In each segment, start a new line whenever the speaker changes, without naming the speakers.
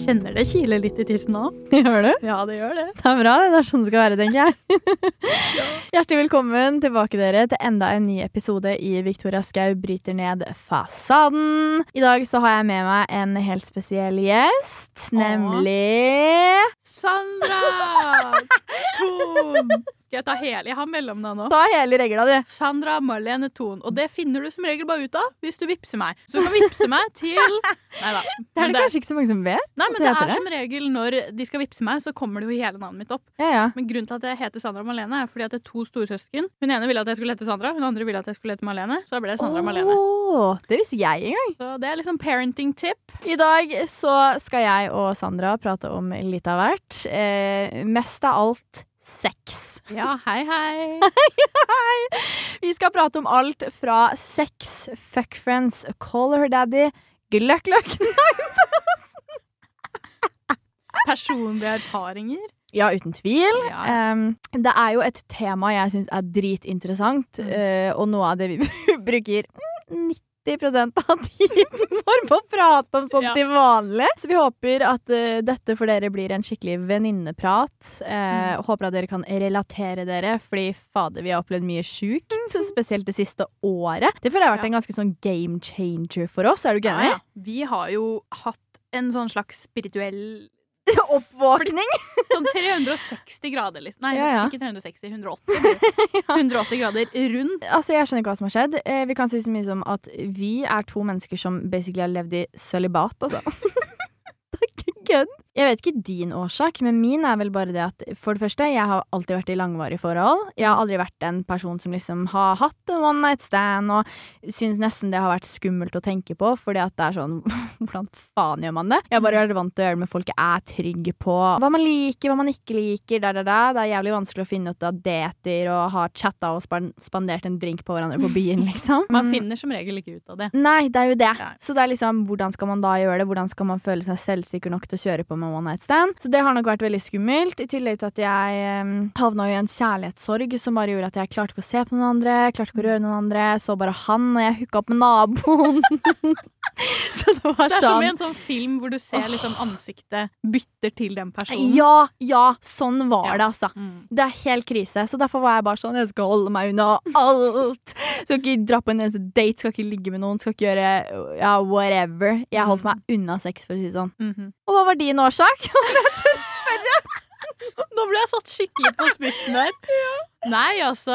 kjenner det kiler litt i tissen nå.
Gjør du?
Ja, det gjør det.
Det er bra, det er sånn det skal være, tenker jeg. Hjertelig velkommen tilbake dere til enda en ny episode i Victoria Skau bryter ned fasaden. I dag så har jeg med meg en helt spesiell gjest, nemlig
Sandra! Thon! Skal jeg ta hele? Jeg har mellomnavn nå.
Ta hele regla, du.
Sandra Marlene Thon. Og det finner du som regel bare ut av hvis du vippser meg. Så du kan vippse meg til Nei da.
Det er
Men
det kanskje ikke så mange som vet.
Nei, men det
at du heter
er
det?
som regel når de skal vippse meg, så kommer det jo hele navnet mitt opp.
Ja, ja.
Men grunnen til at jeg heter Sandra Malene, er fordi at det er to storesøsken. Hun ene ville at jeg skulle hete Sandra, hun andre ville at jeg skulle hete Malene. Så da ble det Sandra Malene.
Åh, det visste jeg engang.
Så det er liksom parenting tip.
I dag så skal jeg og Sandra prate om litt av hvert. Eh, mest av alt sex.
Ja, hei, hei.
Vi skal prate om alt fra sex, fuck friends, call her daddy, gløkk gløkk
Personlige erfaringer.
Ja, uten tvil.
Ja.
Em, det er jo et tema jeg syns er dritinteressant,
Mm.
eh, og noe av det vi bruker mm, 90 av tiden vår på å prate om sånt
Ja.
til vanlig. Så vi håper at eh, dette for dere blir en skikkelig venninneprat. eh,
Mm.
og Håper at dere kan relatere dere, fordi fader, vi har opplevd mye sjukt. Spesielt det siste året. Det føler jeg har vært
Mm. Ja.
en ganske sånn game changer for oss. Er du ikke
Ja,
enig?
ja. Vi har jo hatt en sånn slags spirituell
Oppvåkning!
Sånn 360 grader, liksom. Nei,
Ja, ja.
ikke 360. 180. blir det. 180 grader rundt.
Altså, Jeg skjønner ikke hva som har skjedd. Eh, vi kan si så mye som at vi er to mennesker som basically har levd i sølibat, altså. det er ikke kødd. Jeg vet ikke din årsak, men min er vel bare det at for det første, jeg har alltid vært i langvarige forhold. Jeg har aldri vært en person som liksom har hatt en one night stand og syns nesten det har vært skummelt å tenke på, fordi at det er sånn Hvordan faen gjør man det? Jeg har bare vært vant til å gjøre det med folk jeg er trygg på. Hva man liker, hva man ikke liker, der, der, der. Det er jævlig vanskelig å finne ut av dater og ha chatta og span- spandert en drink på hverandre på byen, liksom.
Man finner som regel ikke ut av det.
Nei, det er jo det.
Nei.
Så det er liksom, hvordan skal man da gjøre det? Hvordan skal man føle seg selvsikker nok til å kjøre på med one night stand? Så det har nok vært veldig skummelt, i tillegg til at jeg eh, havna i en kjærlighetssorg som bare gjorde at jeg klarte ikke å se på noen andre, klarte ikke å røre noen andre, så bare han, og jeg hooka opp med naboen. så det var
Det er som i en
sånn.
sånn film hvor du ser liksom ansiktet bytter til den personen.
Ja, ja, sånn var
Ja.
det, altså.
Mm.
Det er helt krise, så derfor var jeg bare sånn Jeg skal holde meg unna alt. Skal ikke dra på en eneste date, skal ikke ligge med noen, skal ikke gjøre ja, whatever. Jeg holdt meg unna sex, for å si det sånn.
Mhm.
Og hva var din årsak?
Nå ble jeg satt skikkelig på spissen der. Nei, altså,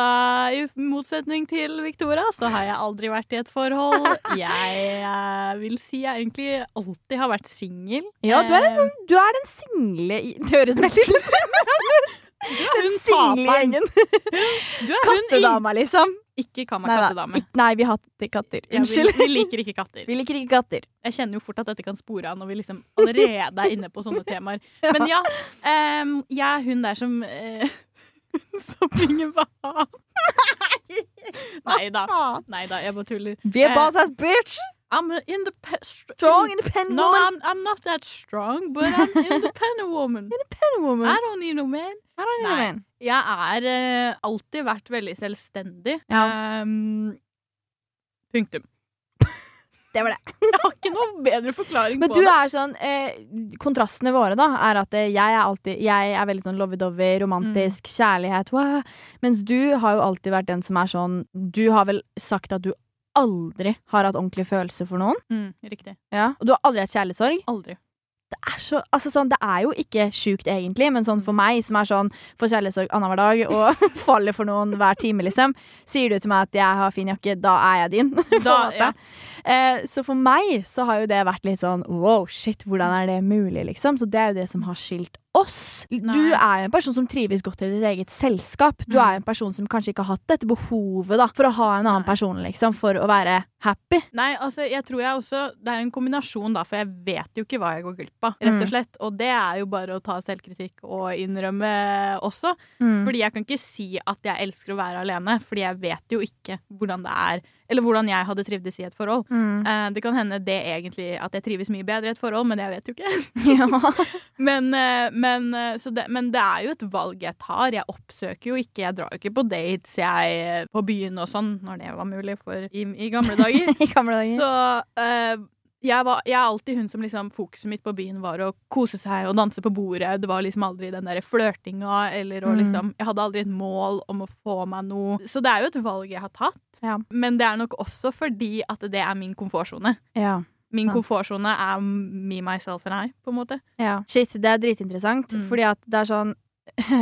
i motsetning til Victoria, så har jeg aldri vært i et forhold. Jeg eh, vil si jeg egentlig alltid har vært singel.
Ja, du er sånn
Eh,
Du er den single i- Det høres veldig ut
hun
Den single
taperen.
gjengen.
Du er hun
Kattedama, liksom.
i Ikke kall meg
Nei, da.
kattedame.
Ik- nei, vi hater katter.
Ja, vi,
Unnskyld.
vi liker ikke katter.
Vi liker ikke katter.
Jeg kjenner jo fort at dette kan spore av når vi liksom allerede er inne på sånne temaer. Men ja, em, jeg er hun der som eh, Som ingen ba om. Nei da. Nei da, jeg bare tuller.
Vi er boss ass bitch!
I'm an independent
Strong, independent
No, I'm,
woman.
I'm not that strong, but I'm independent woman. I
woman.
don't need no man.
I don't
Nei.
even.
Jeg er eh, alltid vært veldig selvstendig. Em, punktum.
Det var det.
Jeg har ikke noe bedre forklaring
Men
på
du
det.
er sånn eh, Kontrastene våre da er at eh, jeg er alltid Jeg er veldig sånn lovey-dovey, romantisk,
Mm.
kjærlighet wow. Mens du har jo alltid vært den som er sånn Du har vel sagt at du aldri har hatt ordentlig følelse for noen.
Mm, riktig.
Ja. Og du har aldri hatt kjærlighetssorg.
Aldri.
Det er, så, altså sånn, det er jo ikke sjukt egentlig, men sånn for meg som er sånn får kjærlighetssorg annenhver dag og faller for noen hver time, liksom. Sier du til meg at jeg har fin jakke, da er jeg din.
Da,
på en måte.
ja.
Eh, så for meg så har jo det vært litt sånn wow, shit, hvordan er det mulig, liksom? Så det er jo det som har skilt oss. Du er jo en person som trives godt i ditt eget selskap. Du
Mm.
er jo en person som kanskje ikke har hatt dette behovet da, for å ha en annen
Nei.
person, liksom, for å være happy.
Nei, altså, jeg tror jeg også Det er en kombinasjon, da, for jeg vet jo ikke hva jeg går glipp av, rett
Mm.
og slett. Og det er jo bare å ta selvkritikk og innrømme også.
Mm.
Fordi jeg kan ikke si at jeg elsker å være alene, fordi jeg vet jo ikke hvordan det er, eller hvordan jeg hadde trivdes i et forhold.
Mm.
Eh, Det kan hende det egentlig at jeg trives mye bedre i et forhold, men jeg vet jo ikke.
Ja.
Men, eh, men, eh, så det, men det er jo et valg jeg tar. Jeg oppsøker jo ikke, jeg drar jo ikke på dates jeg eh, på byen og sånn, når det var mulig for i, i gamle dager.
I gamle dager.
Så eh, jeg, var, jeg er alltid hun som liksom Fokuset mitt på byen var å kose seg og danse på bordet. Det var liksom aldri den derre flørtinga eller å
Mm.
liksom Jeg hadde aldri et mål om å få meg noe. Så det er jo et valg jeg har tatt.
Ja.
Men det er nok også fordi at det er min komfortsone.
Ja.
Min
Sant.
komfortsone er me, myself and I, på en måte.
Ja. Shit, det er dritinteressant,
Mm.
fordi at det er sånn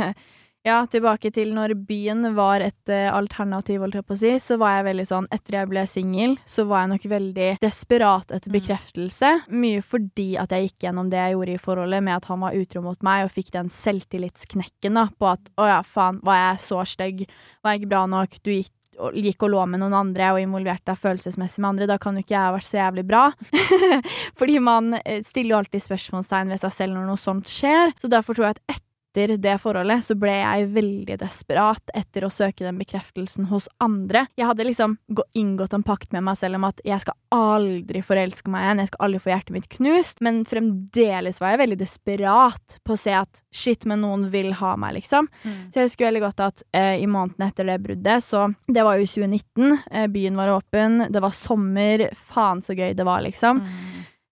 Ja, tilbake til når byen var et eh, alternativ, holdt jeg på å si, så var jeg veldig sånn Etter jeg ble singel, så var jeg nok veldig desperat etter
Mm.
bekreftelse. Mye fordi at jeg gikk gjennom det jeg gjorde i forholdet, med at han var utro mot meg, og fikk den selvtillitsknekken da, på at å ja, faen, var jeg så stygg, var jeg ikke bra nok, du gikk og, gikk og lå med noen andre og involverte deg følelsesmessig med andre, da kan jo ikke jeg ha vært så jævlig bra. Fordi man eh, stiller jo alltid spørsmålstegn ved seg selv når noe sånt skjer. Så derfor tror jeg at etter det forholdet så ble jeg veldig desperat etter å søke den bekreftelsen hos andre. Jeg hadde liksom gå- inngått en pakt med meg selv om at jeg skal aldri forelske meg igjen, jeg skal aldri få hjertet mitt knust, men fremdeles var jeg veldig desperat på å se at shit, men noen vil ha meg, liksom. Så jeg husker veldig godt at eh, i månedene etter det bruddet, så det var jo i 2019, eh, byen var åpen, det var sommer, faen så gøy det var, liksom.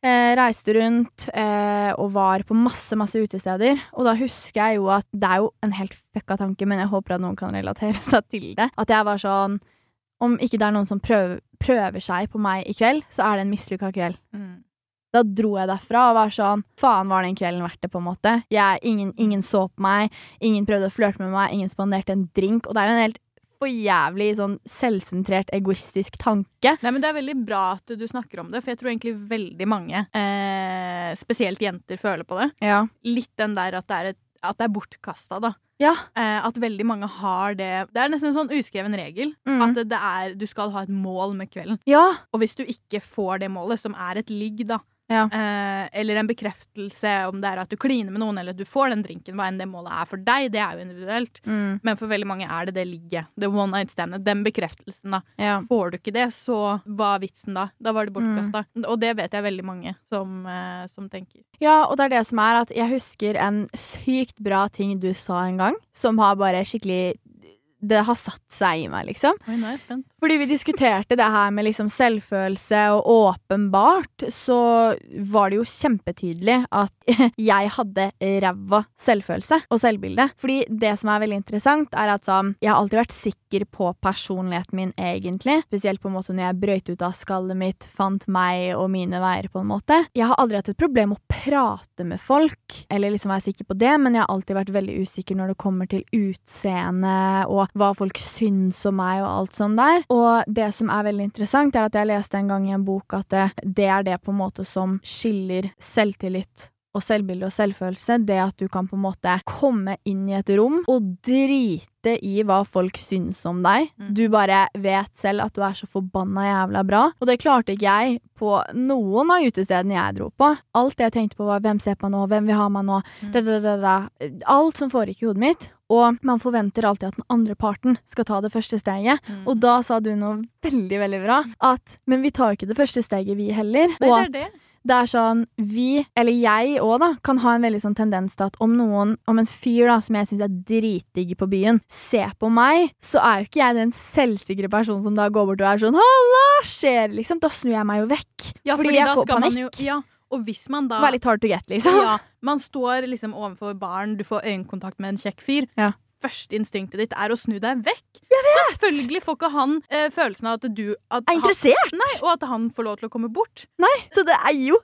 Eh, reiste rundt eh, og var på masse, masse utesteder. Og da husker jeg jo at det er jo en helt fucka tanke, men jeg håper at noen kan relatere seg til det. At jeg var sånn Om ikke det er noen som prøver, prøver seg på meg i kveld, så er det en mislykka kveld.
Mm.
Da dro jeg derfra og var sånn Faen, var den kvelden verdt det, på en måte? Jeg, ingen, ingen så på meg, ingen prøvde å flørte med meg, ingen spanderte en drink. Og det er jo en helt for jævlig sånn selvsentrert, egoistisk tanke.
Nei, men Det er veldig bra at du snakker om det, for jeg tror egentlig veldig mange, eh, spesielt jenter, føler på det.
Ja.
Litt den der at det er, et, at det er bortkasta, da.
Ja.
Eh, at veldig mange har det Det er nesten en sånn uskreven regel.
Mm.
At det, det er, du skal ha et mål med kvelden.
ja.
Og hvis du ikke får det målet, som er et ligg, da,
Ja.
eh, eller en bekreftelse om det er at du kliner med noen, eller at du får den drinken, hva enn det målet er for deg, det er jo individuelt.
Mm.
Men for veldig mange er det det ligget. Det one night standet. Den bekreftelsen, da.
ja.
Får du ikke det, så hva er vitsen da? Da var det bortkasta.
Mm.
Og det vet jeg veldig mange som, eh, som tenker.
Ja, og det er det som er at jeg husker en sykt bra ting du sa en gang, som har bare skikkelig Det har satt seg i meg, liksom.
Oi, nå er jeg spent.
Fordi vi diskuterte det her med liksom selvfølelse, og åpenbart så var det jo kjempetydelig at jeg hadde ræva selvfølelse og selvbilde. Fordi det som er veldig interessant, er at sånn, jeg har alltid vært sikker på personligheten min, egentlig. Spesielt på en måte når jeg brøyt ut av skallet mitt, fant meg og mine veier, på en måte. Jeg har aldri hatt et problem å prate med folk, eller liksom være sikker på det, men jeg har alltid vært veldig usikker når det kommer til utseende og hva folk syns om meg og alt sånt der. Og det som er veldig interessant, er at jeg leste en gang i en bok at det, det er det på en måte som skiller selvtillit og selvbilde og selvfølelse, det at du kan på en måte komme inn i et rom og drite i hva folk syns om deg.
Mm.
Du bare vet selv at du er så forbanna jævla bra. Og det klarte ikke jeg på noen av utestedene jeg dro på. Alt det jeg tenkte på var hvem ser på meg nå, hvem vil ha meg nå,
Mm.
da, da, da, da. Alt som foregikk i hodet mitt. Og man forventer alltid at den andre parten skal ta det første steget.
Mm.
Og da sa du noe veldig, veldig bra. At Men vi tar jo ikke det første steget, vi heller.
Nei, det
og at
er det.
det er sånn vi, eller jeg òg, da, kan ha en veldig sånn tendens til at om noen, om en fyr da, som jeg syns er dritdigg på byen, ser på meg, så er jo ikke jeg den selvsikre personen som da går bort og er sånn 'halla, skjer', liksom. Da snur jeg meg jo vekk.
Ja,
fordi,
da
jeg får
skal man
panikk.
Jo, ja, og hvis man da
Vær litt hard to get, liksom.
ja, Man står liksom overfor baren, du får øyekontakt med en kjekk fyr.
Ja.
Første instinktet ditt er å snu deg vekk. Selvfølgelig får ikke han eh, følelsen av at du at
Er interessert!
han, Nei, Og at han får lov til å komme bort.
Så det er jo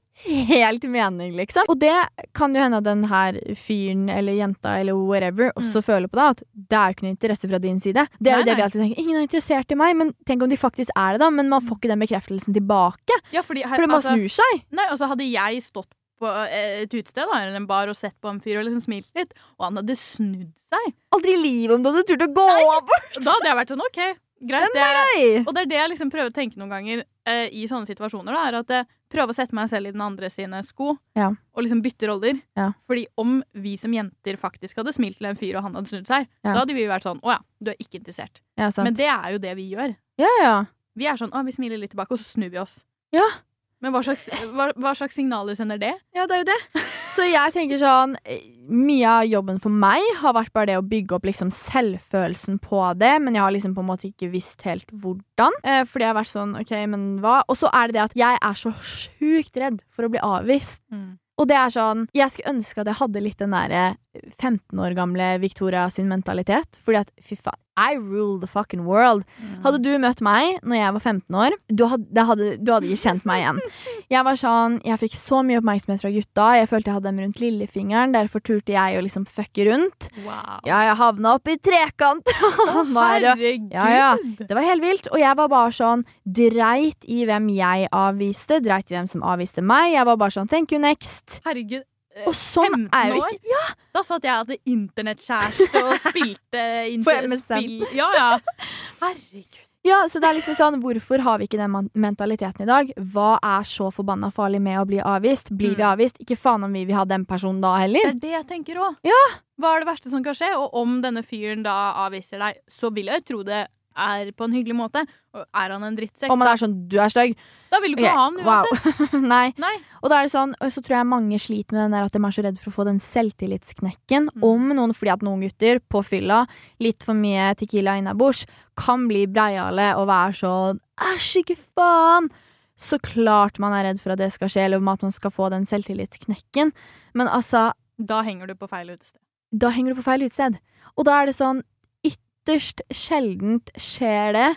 helt mening, liksom. Og det kan jo hende at den her fyren eller jenta eller whatever også føler på det. At det er jo ikke noe interesse fra din side. Det
Mm. Nei,
er jo det vi
nei.
alltid tenker. Ingen er interessert i meg, men tenk om de faktisk er det, da. Men man får ikke den bekreftelsen tilbake.
Ja, fordi her,
For man
altså-
snur seg.
Nei, altså hadde jeg stått på eh, et utested da, eller en bar og sett på en fyr og liksom smilt litt, og han hadde snudd seg,
Aldri i livet om du hadde turt å gå over!
da hadde jeg vært sånn OK, greit. Det er,
Nei.
og det er det jeg liksom prøver å tenke noen ganger eh, i sånne situasjoner, da, er at eh, prøve å sette meg selv i den andre sine sko,
Ja.
og liksom bytte roller.
Ja.
Fordi om vi som jenter faktisk hadde smilt til en fyr og han hadde snudd seg,
Ja.
da hadde vi vært sånn Å ja, du er ikke interessert.
Ja, sant.
Men det er jo det vi gjør.
ja, ja.
Vi er sånn Å, vi smiler litt tilbake, og så snur vi oss.
Ja.
Men hva slags, hva, hva slags signaler sender det?
Ja, det er jo det. Så jeg tenker sånn eh, Mye av jobben for meg har vært bare det å bygge opp liksom selvfølelsen på det, men jeg har liksom på en måte ikke visst helt hvordan. Eh, fordi jeg har vært sånn OK, men hva? Og så er det det at jeg er så sjukt redd for å bli avvist. Og det er sånn Jeg skulle ønske at jeg hadde litt den derre 15 år gamle Victoria sin mentalitet. Fordi at fy faen, I rule the fucking world.
Mm.
Mm. Hadde du møtt meg når jeg var 15 år, du hadde, det hadde, du hadde ikke kjent meg igjen. Jeg var sånn, jeg fikk så mye oppmerksomhet fra gutta, jeg følte jeg hadde dem rundt lillefingeren, derfor turte jeg å liksom fucke rundt.
Wow.
Ja, jeg havna opp i trekant! Han var-
Herregud!
ja, ja. Det var helt vilt, og jeg var bare sånn dreit i hvem jeg avviste, dreit i hvem som avviste meg. Jeg var bare sånn thank you next.
Herregud.
Og sånn
15
er jo
år?
ikke ja,
Da satt jeg og hadde internettkjæreste og spilte
På
inter
MSN.
spill. Ja, ja. Herregud.
ja, så det er liksom sånn, hvorfor har vi ikke den man- mentaliteten i dag? Hva er så forbanna farlig med å bli avvist? Blir vi avvist? Ikke faen om vi vil ha den personen da
Mm. Det
heller.
er det jeg tenker òg. Hva er det verste som kan skje? Og om denne fyren da avviser deg, så vil jeg jo tro det er på en hyggelig måte. Og er han en drittsekk,
Om man er sånn du er stygg,
da vil du ikke
Ok,
ha han uansett.
Wow. Nei.
Nei.
Og da er det sånn, og så tror jeg mange sliter med den der at de er så redd for å få den selvtillitsknekken
Mm.
om noen, fordi at noen gutter på fylla, litt for mye tequila innabords, kan bli breiale og være sånn Æsj, ikke faen! Så klart man er redd for at det skal skje, eller om at man skal få den selvtillitsknekken. Men altså,
Da henger du på feil utested.
da henger du på feil utested. Og da er det sånn Ytterst sjeldent skjer det.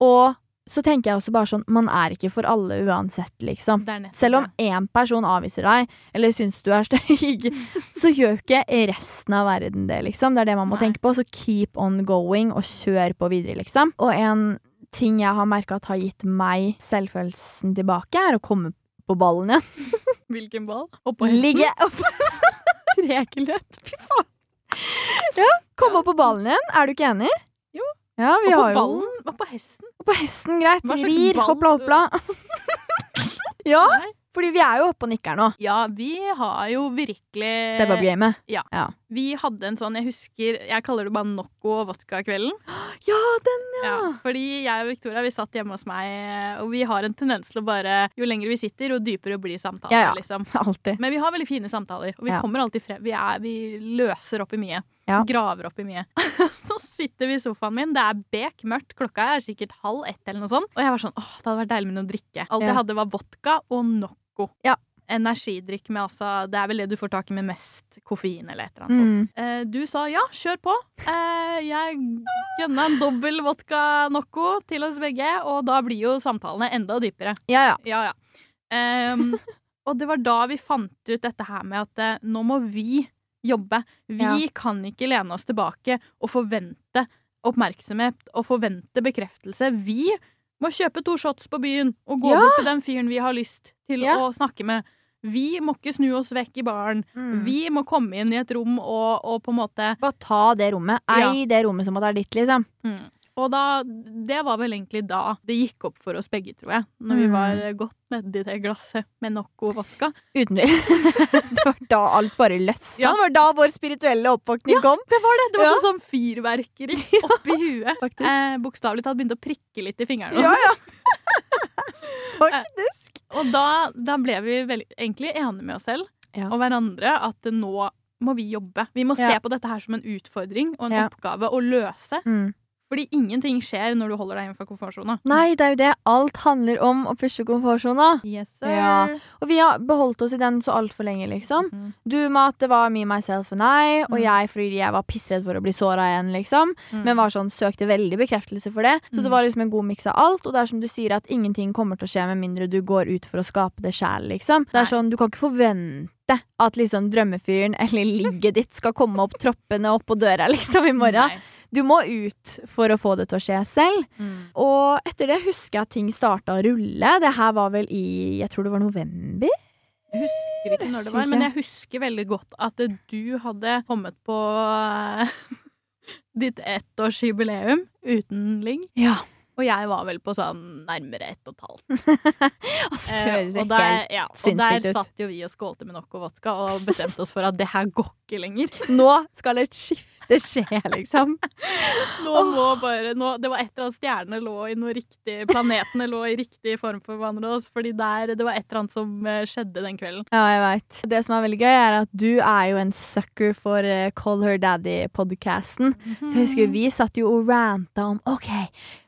Og så tenker jeg også bare sånn, man er ikke for alle uansett, liksom.
Det er nettopp
Selv om
det.
én person avviser deg, eller syns du er stygg, så gjør ikke resten av verden det, liksom. Det er det man må
Nei.
tenke på. Så keep on going, og kjør på videre, liksom. Og en ting jeg har merka at har gitt meg selvfølelsen tilbake, er å komme på ballen igjen.
Hvilken ball? Oppå hesten.
Ligge oppå Rekelrett. Fy faen. Ja, komme opp på ballen igjen. Er du ikke enig?
Jo.
Ja, vi
Oppå
har jo
ballen? Oppå hesten?
Oppå hesten, greit.
Hva slags
Rir,
ball-
hoppla, hoppla. ja,
Nei.
fordi vi er jo oppe og nikker nå.
Ja, vi har jo virkelig
Step up gamet.
Vi hadde en sånn, jeg husker, jeg kaller det bare Nocco og vodka-kvelden.
Ja, den
Ja. Fordi jeg og Victoria vi satt hjemme hos meg, eh, og vi har en tendens til å bare Jo lenger vi sitter, jo dypere blir samtalen.
Ja, ja.
Liksom.
alltid.
Men vi har veldig fine samtaler, og vi
Ja.
kommer alltid frem. Vi, er, vi løser opp i mye.
Ja.
Graver opp i mye. Så sitter vi i sofaen min, det er bek mørkt, klokka er sikkert halv ett eller noe sånt. Og jeg var sånn åh, det hadde vært deilig med noe drikke. Alt
Ja.
jeg hadde var vodka og Nocco.
Ja.
Energidrikk med altså Det er vel det du får tak i med mest koffein eller et eller annet sånt.
Mm.
Eh, du sa ja, kjør på. Eh, jeg gønna en dobbel vodka Nocco til oss begge, og da blir jo samtalene enda dypere.
Ja, ja.
Ja, ja. Ehm, og det var da vi fant ut dette her med at eh, nå må vi jobbe. Vi
Ja.
kan ikke lene oss tilbake og forvente oppmerksomhet og forvente bekreftelse. Vi må kjøpe to shots på byen og gå
Ja.
bort til den fyren vi har lyst til
Ja.
å snakke med. Vi må ikke snu oss vekk i baren. Vi
Vi
må komme inn i et rom og, og på en måte
bare ta det rommet. Ei det rommet som at det er ditt, liksom.
Og da, det var vel egentlig da det gikk opp for oss begge, tror jeg. Når vi
Mm.
var godt nedi det glasset med Nocco vodka.
Uten tvil. det var da alt bare løsna.
Ja.
Det var da vår spirituelle oppvåkning kom.
Det var det! Det var
Ja.
sånn sånn fyrverkeri oppi huet.
Faktisk.
Eh, Bokstavelig talt begynte å prikke litt i fingrene.
Ja, ja. Faktisk.
Og da, da ble vi vel, egentlig enige med oss selv
Ja.
og hverandre at nå må vi jobbe. Vi må se
Ja.
på dette her som en utfordring og en
Ja.
oppgave å løse.
Mm.
Fordi ingenting skjer når du holder deg hjemme fra komfortsona.
Nei, det er jo det. Alt handler om å pushe komfortsona.
Yes, sir.
Ja. Og vi har beholdt oss i den så altfor lenge, liksom.
Mm.
Du med at det var me, myself and I, og
Mm.
jeg fordi jeg var pissredd for å bli såra igjen, liksom. Men var sånn, søkte veldig bekreftelse for det. Så
Mm.
det var liksom en god miks av alt. Og det er som du sier at ingenting kommer til å skje med mindre du går ut for å skape det sjæl. Liksom. Det
Nei.
er sånn, du kan ikke forvente at liksom drømmefyren eller ligget ditt skal komme opp troppene opp på døra liksom i morgen.
Nei.
Du må ut for å få det til å skje selv.
Mm.
Og etter det husker jeg at ting starta å rulle. Det her var vel i jeg tror det var november.
Jeg husker ikke når det var,
Husker
men
ikke.
jeg husker veldig godt at du hadde kommet på eh, ditt ettårsjubileum uten ligg.
Ja,
Og jeg var vel på sånn nærmere ett og et halvt.
altså det
Eh,
høres
og
ikke
der,
helt
ja, og
sinnssykt
der
ut.
satt jo vi og skålte med Nocco vodka og bestemte oss for at det her går ikke lenger.
Nå skal et skifte det skjer, liksom.
Nå må bare, nå, det var et eller annet stjernene lå i noe riktig Planetene lå i riktig form for hverandre. også, Fordi der, det var et eller annet som eh, skjedde den kvelden.
Ja, jeg veit. Det som er veldig gøy, er at du er jo en sucker for eh, Call Her Daddy-podkasten. Så jeg husker vi satt jo og ranta om OK,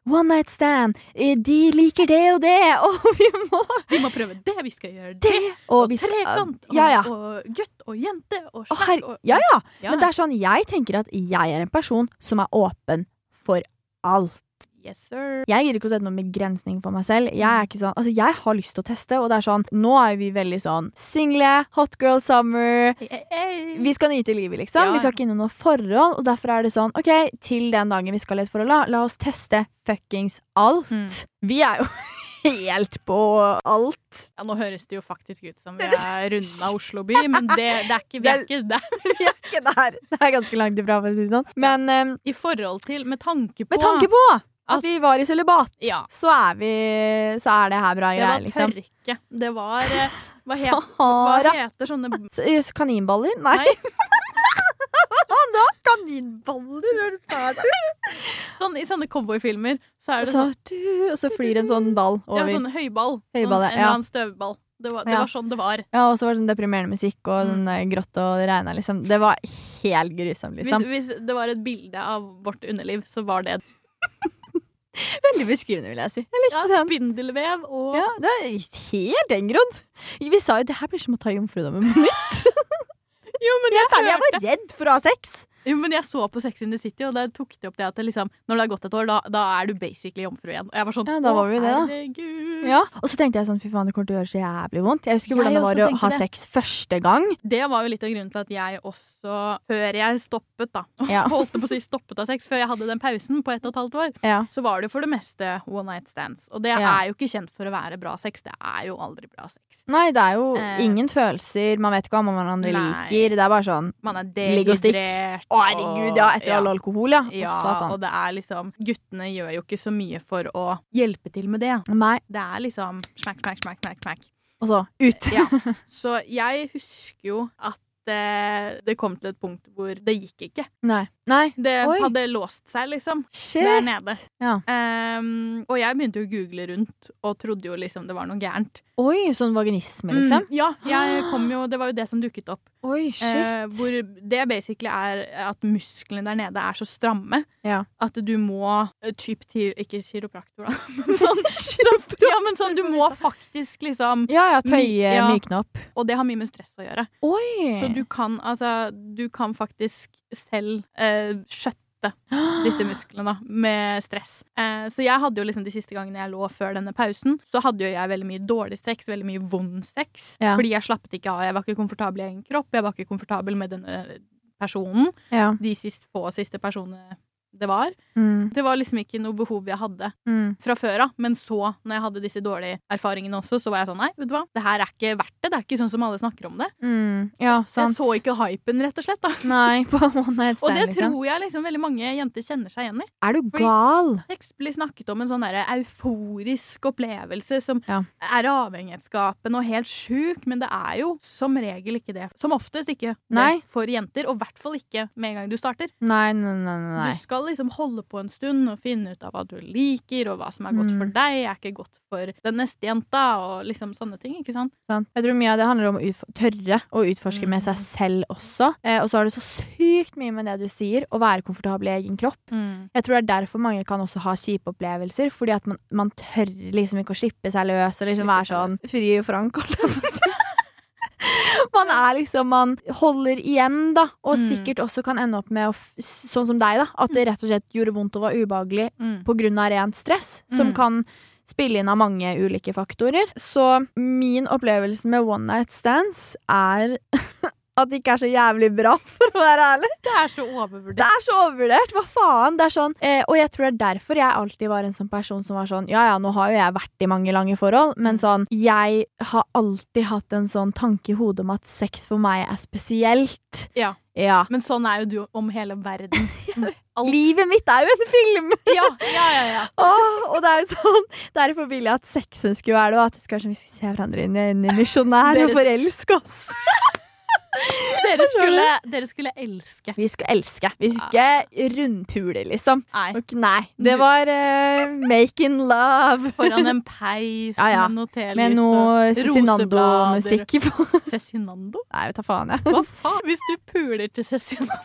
One Night Stand, eh, de liker det og det, og vi må
Vi må prøve det, vi skal gjøre det.
det! Og vi skal
Trekant og,
Ja, ja.
og gutt og jente og
Å,
skjegg
herre-
og
ja, ja.
Ja,
Men det er sånn, jeg tenker at jeg er en person som er åpen for alt.
Yes, sir.
Jeg gir ikke å sette noen begrensning for meg selv. Jeg
Mm.
er ikke sånn, altså jeg har lyst til å teste, og det er sånn, nå er vi veldig sånn single, hot girl summer.
Hey, hey, hey.
Vi skal nyte livet, liksom.
Ja,
Vi skal
ja.
ikke inn i noe forhold, og derfor er det sånn, ok, til den dagen vi skal i et forhold, la, la oss teste fuckings alt.
Mm.
Vi er jo helt på alt.
Ja, nå høres det jo faktisk ut som vi er runda Oslo by, men det, det er ikke, vi er ikke der.
Vi er ikke der. Det er ganske langt ifra, for å si det sånn. Men eh,
I forhold til Med tanke på
med tanke på
At-
at vi var i sølibat,
Ja.
så er vi Så er det her bra
Det
greier,
var
liksom.
tørke. Det var eh, Hva, het, hva
Sahara.
heter sånne
S- eh, Kaninballer? Nei.
Nei.
da? Kaninballer, høres det ut
sånn, I sånne cowboyfilmer så er
Og
det
så,
sånn,
du- og så flyr en sånn ball
det var
over.
sånn høyball.
Høyball,
sånn,
ja.
en eller annen støvball. Det var, det
Ja.
var sånn det var.
Ja, og så var det sånn deprimerende musikk og
Mm.
sånn eh, grått og det regna, liksom. Det var helt grusomt, liksom.
Hvis, hvis det var et bilde av vårt underliv, så var det
Veldig beskrivende, vil jeg si. Jeg likte
ja,
den.
spindelvev og
sånn. Ja, det er helt engrodd. Vi sa jo det her blir som å ta jomfrudommen på nytt. jo, men jeg, jeg var redd for å ha sex.
Jo, men jeg så på Sex in the City, og der tok de opp det at det liksom, når det har gått et år, da, da er du basically jomfru igjen. Og jeg var sånn
Ja, da var
«Å,
vi jo det, da.»
herregud.
Ja, Og så tenkte jeg sånn, fy faen, det kommer til å gjøre så jævlig vondt. Jeg husker
Mm. Jeg
hvordan det var
også
å
tenkte
ha
det.
sex første gang.
Det var jo litt av grunnen til at jeg også, før jeg stoppet, da
Ja.
Holdt på å si stoppet av sex, før jeg hadde den pausen på ett og et halvt år,
Ja.
så var det for det meste one night stands. Og det
Ja.
er jo ikke kjent for å være bra sex. Det er jo aldri bra sex.
Nei, det er jo
Eh.
ingen følelser. Man vet ikke hva man hverandre
Nei.
liker. Det er bare sånn
Man er
Ligg og stikk.
dehydrert.
Å, herregud, ja. Etter all alkohol, ja. Å,
Ja,
Satan.
og det er liksom Guttene gjør jo ikke så mye for å hjelpe til med det.
Nei.
Det er liksom smack, smack, smack, smack, smack.
Og så ut.
Ja. Så jeg husker jo at eh, det kom til et punkt hvor det gikk ikke.
Nei. Nei.
Det
Oi.
hadde låst seg, liksom. Der
Shit.
nede.
Ja.
Ehm, og jeg begynte jo å google rundt og trodde jo liksom det var noe gærent.
Oi, sånn vaginisme, liksom.
Mm, ja, jeg kom jo, det var jo det som dukket opp.
Oi, shit.
Eh, hvor det basically er at musklene der nede er så stramme
Ja.
at du må eh, typ til Ikke kiropraktor, da. Men sånn, sånn, ja, men sånn, du må faktisk liksom
ja, ja. Tøye,
My- ja.
mykne opp.
Og det har mye med stress å gjøre.
Oi.
Så du kan altså Du kan faktisk selv eh, skjøtte disse musklene da, med stress. Eh, så jeg hadde jo liksom de siste gangene jeg lå før denne pausen, så hadde jo jeg veldig mye dårlig sex, veldig mye vond sex.
Ja.
Fordi jeg slappet ikke av. Jeg var ikke komfortabel i egen kropp. Jeg var ikke komfortabel med denne personen.
Ja.
De sist, få siste personene det var.
Mm,
Det var liksom ikke noe behov jeg hadde
mm.
fra før av. Men så, når jeg hadde disse dårlige erfaringene også, så var jeg sånn nei, vet du hva, det her er ikke verdt det. Det er ikke sånn som alle snakker om det.
Mm. Ja, sant.
Jeg så ikke hypen, rett og slett. da.
Nei, på One
Og
Night Stand,
det
liksom.
tror jeg liksom veldig mange jenter kjenner seg igjen i.
Er du gal?
Sex blir snakket om en sånn der euforisk opplevelse som
Ja.
er avhengighetsskapende og helt sjuk, men det er jo som regel ikke det. Som oftest ikke
Nei.
det for jenter, og i hvert fall ikke med en gang du starter.
Nei, nei, nei, nei, nei.
Du skal liksom holde på en stund og finne ut av hva du liker, og hva som er godt for
Mm.
deg, er ikke godt for den neste jenta, og liksom sånne ting, ikke sant?
Sant. Jeg tror mye av det handler om å utf tørre å utforske med seg
Mm.
selv også. Eh, og så har det så sykt mye med det du sier, å være komfortabel i egen kropp. Jeg tror det er derfor mange kan også ha kjipe opplevelser, fordi at man, man tør liksom ikke å slippe seg løs og liksom
Slippe
være
seg
sånn fri og frank, holdt jeg på å si. Man er liksom, man holder igjen, da, og
Mm.
sikkert også kan ende opp med, å f sånn som deg, da, at det rett og slett gjorde vondt og var ubehagelig
Mm.
på grunn av rent stress, som
Mm.
kan spille inn av mange ulike faktorer. Så min opplevelse med one night stands er at det ikke er så jævlig bra, for å være ærlig.
Det er så
Det
overvurdert.
er så overvurdert! Hva faen? Det er sånn, eh, og jeg tror det er derfor jeg alltid var en sånn person som var sånn Ja ja, nå har jo jeg vært i mange lange forhold,
Mm.
men sånn Jeg har alltid hatt en sånn tanke i hodet om at sex for meg er spesielt.
Ja.
Ja.
Men sånn er jo du om hele verden. Alt.
Livet mitt er jo en film!
Ja, ja, ja. ja.
Åh, og det er jo sånn Derfor ville jeg at sånn, sexen skulle være det, og at vi skulle, kanskje vi skulle se hverandre inn i øynene misjonær og
Dere-
forelske oss.
Dere skulle, dere skulle elske.
Vi skulle elske. Vi skulle ikke rundpule, liksom.
Nei.
Ok, nei. Det var eh, make in love.
Foran en peis
Ja, ja.
med noe telys
Med noe
og roseblader.
Cezinando-musikk på.
Cezinando?
Nei, ta faen, jeg.
Hva faen? Hvis du puler til Cezinando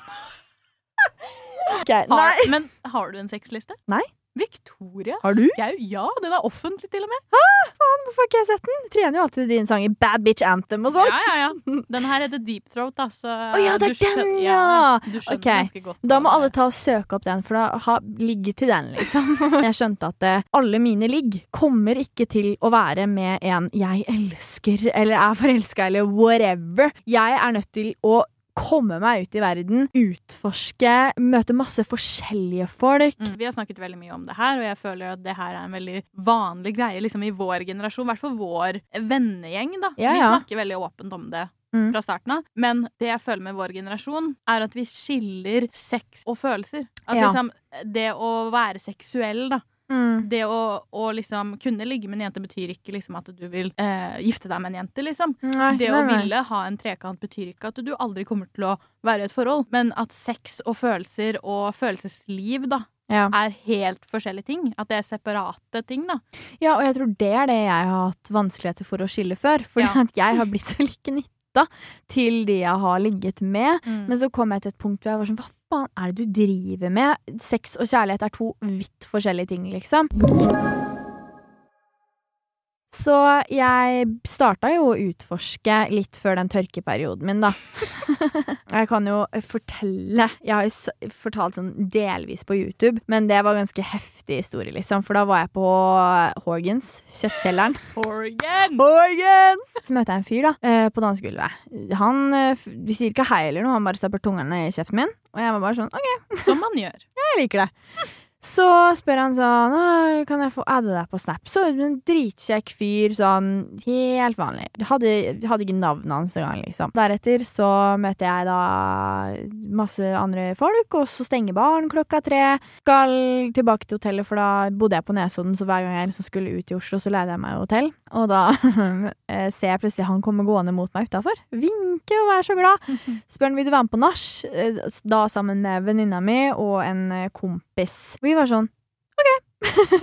Ok,
har,
Nei.
Men har du en sexliste?
Nei.
Victoria
Har du?
Skau. Ja, den er offentlig til og med.
Hvorfor har ikke jeg sett den? Trener jo alltid din sang i Bad Bitch Anthem og sånn.
Ja, ja, ja. Den her heter Deep Throat, da, så
Å ja, det er
du skjøn-
den, ja.
Du skjønner
Ok.
ganske godt.
Da må
hva
alle
det er.
ta og søke opp den, for da ha, ligge til den, liksom. Jeg skjønte at eh, alle mine ligg kommer ikke til å være med en jeg elsker, eller er forelska, eller whatever. Jeg er nødt til å komme meg ut i verden, utforske, møte masse forskjellige folk.
Mm. Vi har snakket veldig mye om det her, og jeg føler at det her er en veldig vanlig greie liksom i vår generasjon. I hvert fall vår vennegjeng. da.
Ja,
Vi
ja.
snakker veldig åpent om det
Mm.
fra starten av. Men det jeg føler med vår generasjon, er at vi skiller sex og følelser. At
Ja.
liksom, Det å være seksuell, da.
Mm.
Det å, å liksom kunne ligge med en jente betyr ikke liksom at du vil eh, gifte deg med en jente, liksom.
Nei,
Det
nei,
å
nei.
ville ha en trekant betyr ikke at du aldri kommer til å være i et forhold, men at sex og følelser og følelsesliv da,
Ja.
er helt forskjellige ting. At det er separate ting, da.
Ja, og jeg tror det er det jeg har hatt vanskeligheter for å skille før. Fordi
Ja.
at jeg har blitt så lykkenytta til de jeg har ligget med.
Mm.
Men så kom jeg til et punkt hvor jeg var sånn Hva faen er det du driver med? Sex og kjærlighet er to vidt forskjellige ting, liksom. Så jeg starta jo å utforske litt før den tørkeperioden min, da. Jeg kan jo fortelle Jeg har jo s- fortalt sånn delvis på YouTube, men det var ganske heftig historie, liksom. For da var jeg på Horgans, kjøttkjelleren.
Horgan!
Morgens! Så møter jeg en fyr da, eh, på dansegulvet. Han eh, f- vi sier ikke hei eller noe, han bare stapper tungen i kjeften min. Og jeg var bare sånn, ok,
Som man gjør.
jeg liker det. Så spør han sånn, «Å, kan jeg få adde deg på Snap? Så en dritkjekk fyr, sånn helt vanlig. Hadde, hadde ikke navnet hans engang, liksom. Deretter så møter jeg da masse andre folk, og så stenger baren klokka tre. Skal tilbake til hotellet, for da bodde jeg på Nesodden, så hver gang jeg liksom skulle ut i Oslo, så leide jeg meg hotell. Og da eh, ser jeg plutselig han komme gående mot meg utafor. Vinke og være så glad. Spør han vil du være med på nach, Eh, da sammen med venninna mi og en eh, kompis. Vi var sånn OK.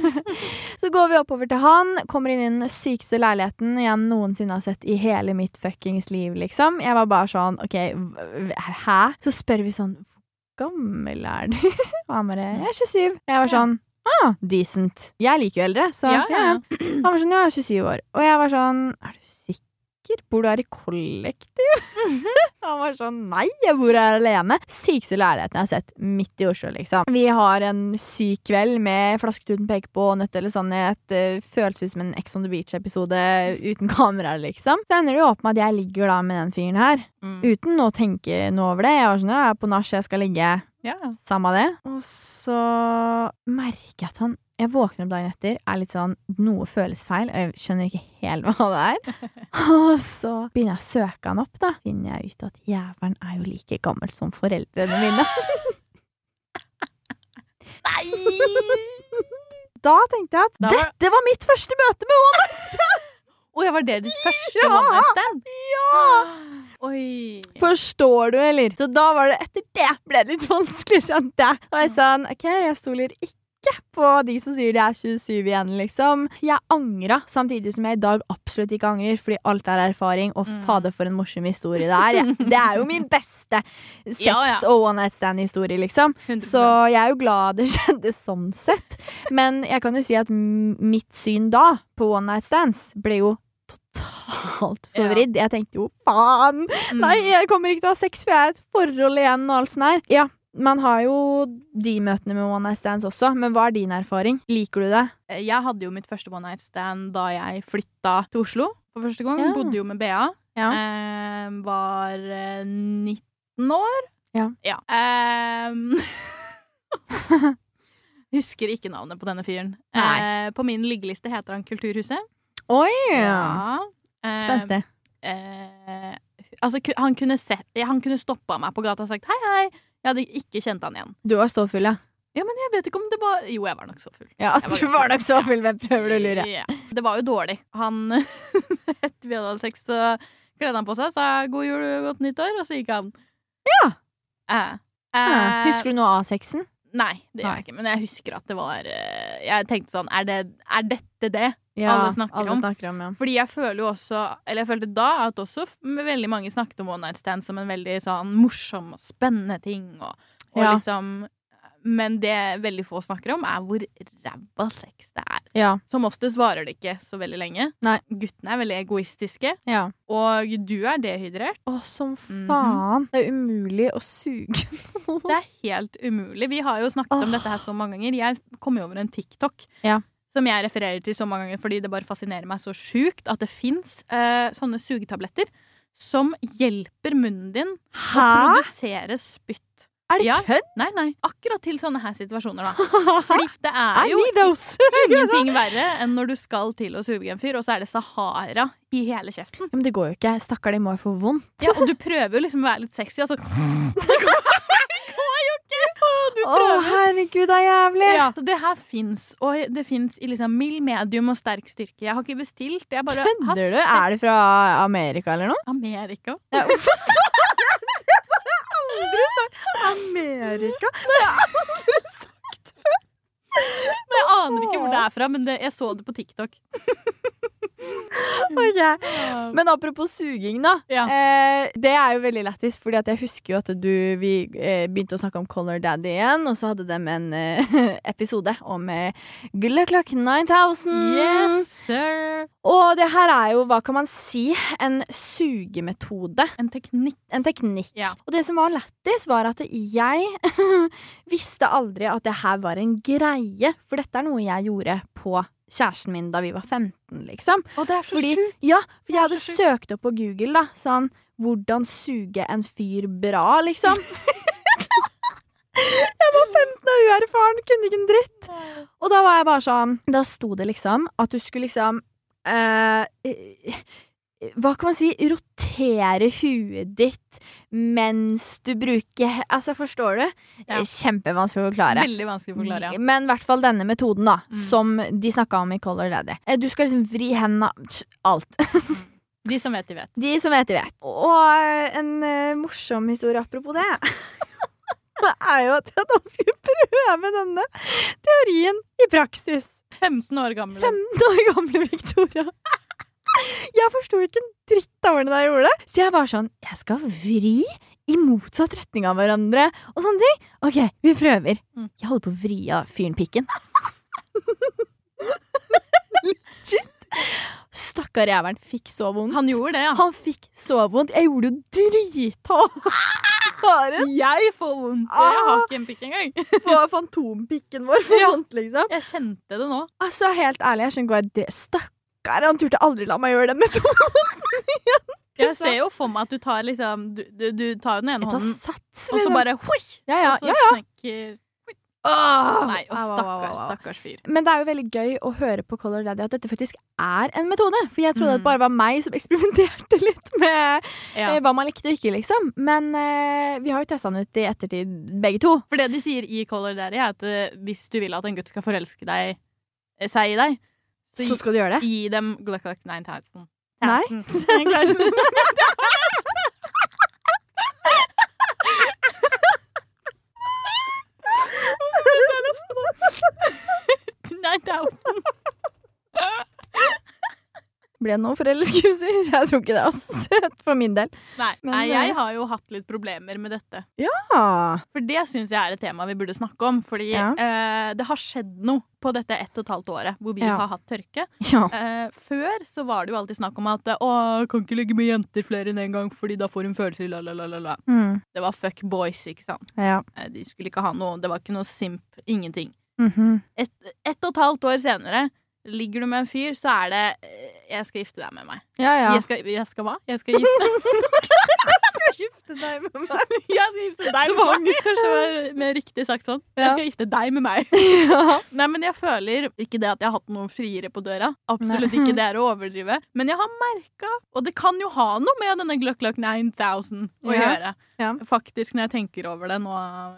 så går vi oppover til han, kommer inn i den sykeste leiligheten jeg noensinne har sett i hele mitt fuckings liv, liksom. Jeg var bare sånn OK, v- v- hæ? Så spør vi sånn Hvor gammel er du? Og han bare Jeg er 27. Jeg var
Ja.
sånn Ah, decent. Jeg liker jo eldre, så
Ja, ja, ja.
han var sånn, ja, 27 år. Og jeg var sånn, er du sikker? Bor du her i kollektiv? Han var sånn, nei, jeg bor her alene. Sykeste leiligheten jeg har sett midt i Oslo, liksom. Vi har en syk kveld med Flasketuten peker på og Nødt eller sannhet. eh, Føles ut som en Ex on the Beach-episode uten kamera, liksom. Så ender det jo opp med at jeg ligger da med den fyren her,
Mm.
uten å tenke noe over det. Jeg var sånn, ja, jeg er på nach, jeg skal ligge.
Ja.
Samme det. Og så merker jeg at han Jeg våkner opp dagen etter, er litt sånn Noe føles feil, og jeg skjønner ikke helt hva det er. Og så begynner jeg å søke han opp, da. Finner jeg ut at jævelen er jo like gammel som foreldrene mine. Nei! Da tenkte jeg at
Da var-
dette var mitt første møte med one night stand!
Å ja, var det ditt første
Ja!
one night stand?
Ja!
Oi.
Forstår du, eller? Så da var det etter det ble det litt vanskelig, kjente jeg. Og jeg sa OK, jeg stoler ikke på de som sier de er 27 igjen, liksom. Jeg angra, samtidig som jeg i dag absolutt ikke angrer, fordi alt er erfaring, og
Mm.
fader, for en morsom historie det er. Jeg- Det er jo min beste sex
Ja, ja.
og one night stand-historie, liksom.
100%.
Så jeg er jo glad det skjedde sånn sett. Men jeg kan jo si at m- mitt syn da på one night stands ble jo totalt
Ja.
forvridd. Jeg tenkte jo faen!
Mm.
Nei, jeg kommer ikke til å ha sex, for jeg er i et forhold igjen og alt sånt her. Ja, man har jo de møtene med one night stands også, men hva er din erfaring? Liker du det?
Eh, Jeg hadde jo mitt første one night stand da jeg flytta til Oslo for første gang.
Ja.
Bodde jo med Bea.
Ja.
Eh, var eh, 19 år.
Ja.
Ehm, Husker ikke navnet på denne fyren.
Nei.
Eh, på min liggeliste heter han Kulturhuset.
Oi!
Eh,
Spenstig.
eh, altså, ku- han kunne, sett, han kunne stoppa meg på gata og sagt hei, hei. Jeg hadde ikke kjent han igjen.
Du var ståfull, ja.
Ja, men jeg vet ikke om det var Jo, jeg var nok så full.
Ja,
Jeg var
du
ganske
var nok ståfull, men prøver du å lure?
Ja. Det var jo dårlig. Han Etter vi hadde hatt sex, så Kledde han på seg, sa god jul og godt nyttår, og så gikk han.
Ja.
Eh,
Ja. Husker du noe av sexen?
Nei, det gjør
Nei.
jeg ikke. Men jeg husker at det var eh, Jeg tenkte sånn, er, det, er dette det?
Ja,
alle snakker om.
ja.
Fordi jeg føler jo også Eller jeg følte da at også f- veldig mange snakket om one night stand som en veldig sånn morsom og spennende ting. Og, og
Ja.
liksom Men det veldig få snakker om, er hvor ræva sex det er.
Ja.
Som oftest varer det ikke så veldig lenge.
Nei.
Guttene er veldig egoistiske.
ja.
Og du er dehydrert.
Å, som
Mhm.
faen. Det er umulig å suge noe.
Det er helt umulig. Vi har jo snakket om
Mhm. Åh.
dette her så mange ganger. Jeg kom jo over en TikTok
Ja.
som jeg refererer til så mange ganger fordi det bare fascinerer meg så sjukt at det fins eh, sånne sugetabletter som hjelper munnen din å produsere spytt.
Er det
Ja.
kødd?
Nei, nei. Akkurat til sånne her situasjoner, da. Fordi det er jo
those.
ingenting verre enn når du skal til å suge en fyr, og så er det Sahara i hele kjeften.
Ja, men det går jo ikke. Stakkar, de må jo få vondt.
Ja, og du prøver jo liksom å være litt sexy, og så
Du prøver. Å, herregud, det er jævlig.
Ja, så det her fins, og det fins i liksom mild, medium og sterk styrke. Jeg har ikke bestilt, jeg bare har
Kødder du?
sett
Er det fra Amerika eller noe?
Amerika.
Ja, hvorfor sa du det? har jeg aldri sagt. Amerika? Det har jeg aldri sagt før.
Men jeg aner ikke hvor det er fra, men det, jeg så det på TikTok.
Ok. Men apropos suging, da.
Ja.
Eh, det er jo veldig lættis, Fordi at jeg husker jo at du Vi eh, begynte å snakke om Color Daddy igjen, og så hadde de en eh, episode om eh, Good Luck 9000.
Yes, sir!
Og det her er jo, hva kan man si, en sugemetode.
En teknikk.
En teknikk.
Ja.
Og det som var lættis, var at jeg visste aldri at det her var en greie. For dette er noe jeg gjorde på kjæresten min da vi var 15, liksom.
Og det er så
Fordi-
sjukt.
Ja,
Det
for jeg
er
hadde
så sjukt.
søkt opp på Google, da. Sånn hvordan suge en fyr bra, liksom. jeg var 15 og uerfaren, kunne ikke en dritt. Og da var jeg bare sånn Da sto det liksom at du skulle liksom eh, eh, Hva kan man si? Rotere huet ditt mens du bruker Altså, forstår du? Eh,
Ja.
Kjempevanskelig å forklare.
Veldig vanskelig å forklare. Ja.
Men i hvert fall denne metoden, da,
Mm.
som de snakka om i Color Daddy. Eh, Du skal liksom vri hendene Alt.
De som vet, de vet.
De som vet, de vet. Og en eh, morsom historie apropos det. det er jo at jeg da skulle prøve denne teorien i praksis.
15 år gammel.
15 år gamle Victoria. Jeg forsto ikke en dritt av hvordan jeg gjorde det. Så jeg var sånn Jeg skal vri i motsatt retning av hverandre og sånne ting. OK, vi prøver.
Mm.
Jeg holder på å vri av fyren pikken. Shit. Stakkar jævelen fikk så vondt.
Han gjorde det, ja.
Han fikk så vondt. Jeg gjorde jo drithardt. Bare
Jeg får vondt. Ah. Jeg har ikke en pikk engang.
på fantompikken vår for
Ja.
vondt, liksom.
Jeg kjente det nå.
Altså, helt ærlig, jeg skjønner ikke hva jeg drev Stakkar, han turte aldri la meg gjøre den metoden igjen.
Jeg ser jo for meg at du tar liksom Du, du, du tar jo den ene
Jeg tar
hånden,
sats,
og så
liksom.
bare hoi!
Ja, ja,
og så
ja.
knekker
Åh!
Nei, og
Au, au, au,
stakkars,
au.
stakkars fyr.
Men det er jo veldig gøy å høre på Color Daddy at dette faktisk er en metode. For jeg trodde
Mm.
det bare var meg som eksperimenterte litt med
Ja.
eh, hva man likte og ikke, liksom. Men eh, vi har jo testa den ut i ettertid, begge to.
For det de sier i Color Daddy, er at eh, hvis du vil at en gutt skal forelske deg, eh, seg i deg, så,
Så skal du gjøre det.
gi, gi dem Gluck Gluck 9000.
Nei.
Nei, det er jo
Ble nå forelskelser? Jeg tror ikke det, altså. For min del.
Nei,
Men,
nei,
eh,
jeg har jo hatt litt problemer med dette.
Ah.
For det syns jeg er et tema vi burde snakke om. Fordi
Ja.
eh, det har skjedd noe på dette ett og et halvt året hvor vi
Ja.
har hatt tørke.
Ja.
Eh, før så var det jo alltid snakk om at eh, å, kan ikke ligge med jenter flere enn én en gang, fordi da får hun følelser, la, la, la, la, la.
Mm.
Det var fuck boys, ikke sant.
ja.
Eh, De skulle ikke ha noe, det var ikke noe simp, ingenting.
Mhm.
Et, ett og et halvt år senere ligger du med en fyr, så er det eh, 'jeg skal gifte deg med meg'.
ja, ja.
Jeg, skal, jeg skal hva? Jeg skal gifte
gifte deg med meg.
Jeg skal gifte deg med meg! Kanskje det var mer riktig sagt sånn. Jeg
Ja.
skal gifte deg med meg.
Ja.
Nei, men jeg føler ikke det at jeg har hatt noen friere på døra. Absolutt ikke det er å overdrive. Men jeg har merka, og det kan jo ha noe med denne Gluck Gluck 9000 å
Ja.
gjøre.
Ja.
Faktisk, når jeg tenker over det nå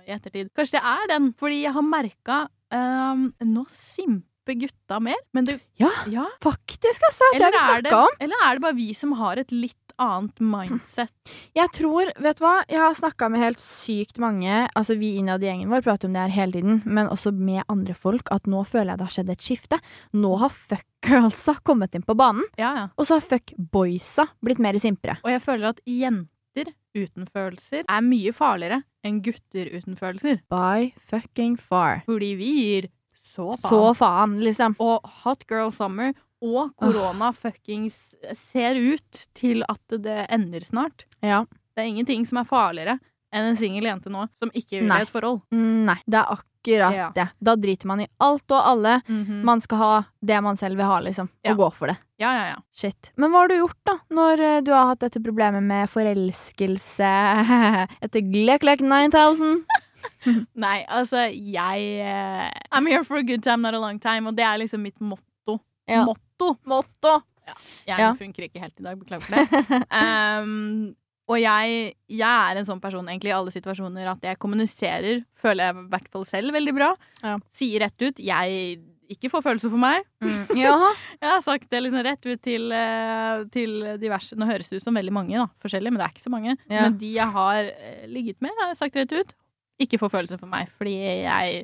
i ettertid. Kanskje det er den, fordi jeg har merka um, Nå simper gutta mer, men det
Ja.
ja.
Faktisk, altså. Det
Eller
har vi
er det,
snakka om.
eller er det bare vi som har et litt annet mindset.
Jeg tror, vet du hva, jeg har snakka med helt sykt mange, altså vi innad i gjengen vår prater om det her hele tiden, men også med andre folk, at nå føler jeg det har skjedd et skifte. Nå har fuck girlsa kommet inn på banen,
Ja, ja.
og så har fuck boysa blitt mer simpere.
Og jeg føler at jenter uten følelser er mye farligere enn gutter uten følelser.
By fucking far.
Fordi vi gir så faen.
Så faen, liksom.
Og Hot Girl Summer og korona fuckings ser ut til at det ender snart.
Ja.
Det er ingenting som er farligere enn en singel jente nå som ikke vil
Nei.
ha et forhold.
Mm, Nei, det er akkurat
Ja.
det. Da driter man i alt og alle.
Ma-
Man skal ha det man selv vil ha, liksom.
Ja.
Og gå for det.
Ja, ja, ja.
Shit. Men hva har du gjort, da, når eh, du har hatt dette problemet med forelskelse etter Glek Glek 9000?
Nei, altså, jeg eh, I'm here for a good time, not a long time. Og det er liksom mitt motto.
Ja.
Motto!
Motto!
Jeg
Ja.
funker ikke helt i dag, beklager for det. Ehm, og jeg, jeg er en sånn person egentlig i alle situasjoner at jeg kommuniserer, føler jeg i hvert fall selv veldig bra.
Ja.
Sier rett ut. Jeg ikke får følelser for meg.
Mm, Jaha.
Jeg har sagt det liksom rett ut til, eh, til diverse Nå høres det ut som veldig mange, da. Forskjellige, men det er ikke så mange.
Ja.
Men de jeg har eh, ligget med, har jeg sagt rett ut. Ikke får følelser for meg, fordi jeg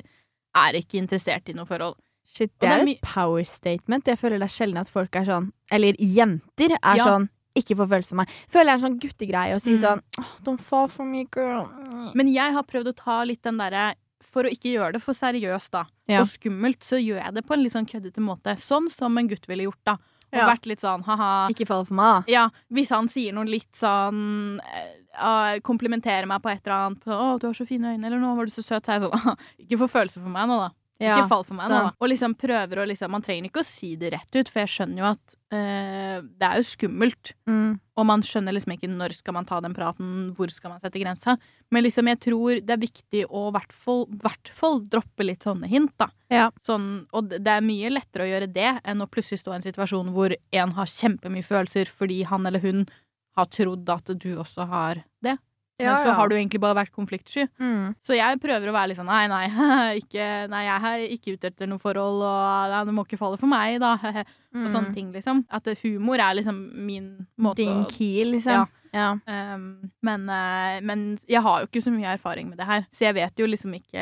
er ikke interessert i noe forhold.
Shit,
Og
det
det er
er
my-
et power statement. Jeg føler det er sjelden at folk er sånn Eller jenter er
Ja.
sånn ikke får følelse for meg. Føler jeg er en sånn guttegreie å si
Mm. Ah.
sånn «Åh, Don't fall for me, girl.
Men jeg har prøvd å ta litt den derre For å ikke gjøre det for seriøst, da,
Ja.
og skummelt, så gjør jeg det på en litt sånn køddete måte. Sånn som en gutt ville gjort, da. Og
Ja.
vært litt sånn ha-ha.
Ikke fall for meg, da.
Ja, hvis han sier noe litt sånn eh, ah, Komplimenterer meg på et eller annet. På, 'Å, du har så fine øyne', eller 'Nå var du så søt', så er jeg sånn «Ah, Ikke få følelser for meg nå, da.
Ja,
Ikke fall for meg nå,
sant.
da. Og liksom prøver å liksom Man trenger ikke å si det rett ut, for jeg skjønner jo at eh, det er jo skummelt.
Mm.
Og man skjønner liksom ikke når skal man ta den praten, hvor skal man sette grensa. Men liksom jeg tror det er viktig å i hvert fall- hvert fall droppe litt sånne hint, da.
Ja.
Sånn, og det det er mye lettere å gjøre det enn å plutselig stå i en situasjon hvor en har kjempemye følelser fordi han eller hun har trodd at du også har det. Men så har du egentlig bare vært konfliktsky.
mm.
Så jeg prøver å være litt sånn nei, nei, ikke, nei jeg er ikke ute etter noe forhold, og nei, du må ikke falle for meg, da.
mm.
Og sånne ting, liksom. At eh, humor er liksom min måte
Din
å
key, liksom.
Ja.
ja.
Um, men, eh, men jeg har jo ikke så mye erfaring med det her, så jeg vet jo liksom ikke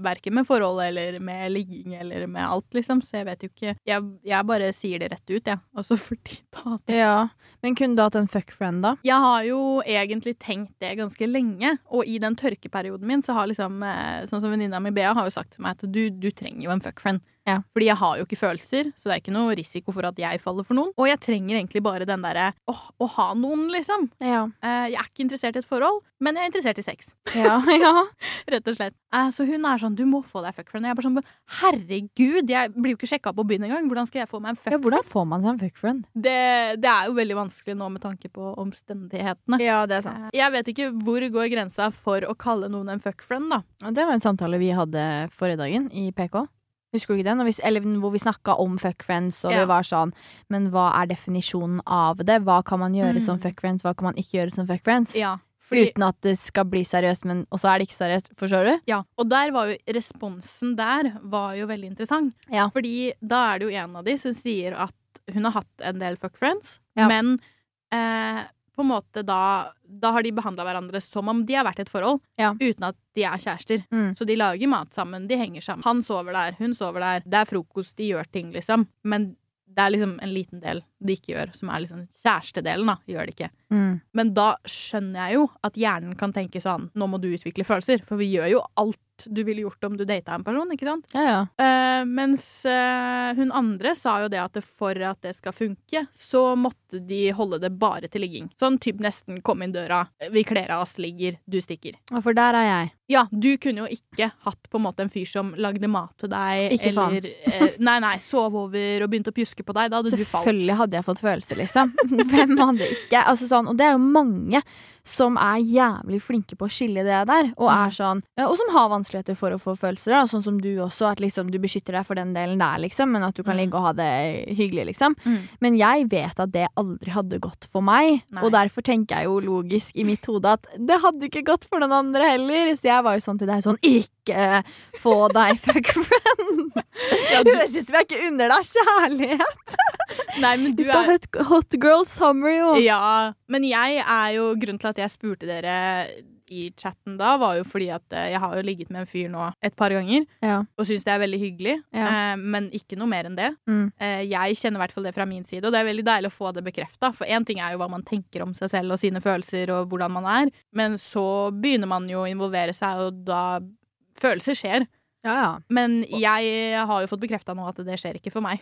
verken med forhold eller med ligging eller med alt, liksom. Så jeg vet jo ikke Jeg, jeg bare sier det rett ut, jeg. Og så får de ta det.
Ja, men kunne du hatt en fuck friend da?
Jeg har jo egentlig tenkt det ganske lenge, og i den tørkeperioden min så har liksom eh, Sånn som venninna mi Bea har jo sagt til meg at du, du trenger jo en fuckfriend.
Ja.
Fordi jeg har jo ikke følelser, så det er ikke noe risiko for at jeg faller for noen. Og jeg trenger egentlig bare den derre åh, å ha noen, liksom.
Ja.
Eh, Jeg er ikke interessert i et forhold, men jeg er interessert i sex.
Ja, ja.
Rett og slett. Eh, Så hun er sånn 'du må få deg fuckfriend'. Jeg er bare sånn 'herregud, jeg blir jo ikke sjekka på byen engang'. Hvordan skal jeg få meg en fuck?
hvordan får man seg en fuck friend?
Det, det er jo veldig vanskelig nå med tanke på omstendighetene.
Ja, det er
Eh, Jeg vet ikke hvor går grensa for å kalle noen en fuckfriend, da.
Og det var en samtale vi hadde forrige dagen i PK. Husker du ikke den? Og hvis- eller hvor vi snakka om fuck friends, og
Ja.
vi var sånn Men hva er definisjonen av det? Hva kan man gjøre
Mm.
som fuck friends, hva kan man ikke gjøre som fuck friends?
Ja, fordi,
Uten at det skal bli seriøst, men også er det ikke seriøst. Forstår du?
ja. Og der var jo responsen der var jo veldig interessant.
Ja.
Fordi da er det jo en av de som sier at hun har hatt en del fuckfriends,
Ja.
men eh, på en måte da Da har de behandla hverandre som om de har vært i et forhold,
Ja.
uten at de er kjærester.
Mm.
Så de lager mat sammen, de henger sammen. Han sover der, hun sover der. Det er frokost, de gjør ting, liksom. Men det er liksom en liten del de ikke gjør, som er liksom kjærestedelen, da. Gjør det ikke.
Mm.
Men da skjønner jeg jo at hjernen kan tenke sånn Nå må du utvikle følelser, for vi gjør jo alt du ville gjort om du data en person, ikke sant?
Ja, ja.
Eh, mens eh, hun andre sa jo det at det for at det skal funke, så måtte de holde det bare til ligging. Sånn typ nesten kom inn døra, vi kler av oss, ligger, du stikker.
Og for der er jeg.
Ja, du kunne jo ikke hatt på en måte en fyr som lagde mat til deg,
Ikke faen.
eller eh, Nei, nei, sov over og begynte å pjuske på deg. Da hadde du falt.
Selvfølgelig hadde jeg fått følelser, liksom. Hvem hadde ikke? Altså, sånn, og det er jo mange som er jævlig flinke på å skille det der, og, er sånn, ja, og som har vanskeligheter for å få følelser. Da, sånn som du også, at liksom, du beskytter deg for den delen der, liksom, men at du kan
Mm.
ligge og ha det hyggelig, liksom.
Mm.
Men jeg vet at det aldri hadde gått for meg,
Nei.
og derfor tenker jeg jo logisk i mitt hode at det hadde ikke gått for noen andre heller. Så jeg var jo sånn til deg sånn Ikke få deg fuck friend!
Ja,
Det
du,
høres ut som jeg ikke unner deg kjærlighet!
nei, men du
Du skal
er
ha et hot girl summer, jo.
Ja, Men jeg er jo Grunnen til at jeg spurte dere i chatten da, var jo fordi at eh, jeg har jo ligget med en fyr nå et par ganger,
Ja.
og syns det er veldig hyggelig,
Ja.
eh, men ikke noe mer enn det.
Mm.
Eh, jeg kjenner i hvert fall det fra min side, og det er veldig deilig å få det bekrefta. For én ting er jo hva man tenker om seg selv og sine følelser og hvordan man er, men så begynner man jo å involvere seg, og da Følelser skjer.
ja, ja.
Men jeg har jo fått bekrefta nå at det skjer ikke for meg.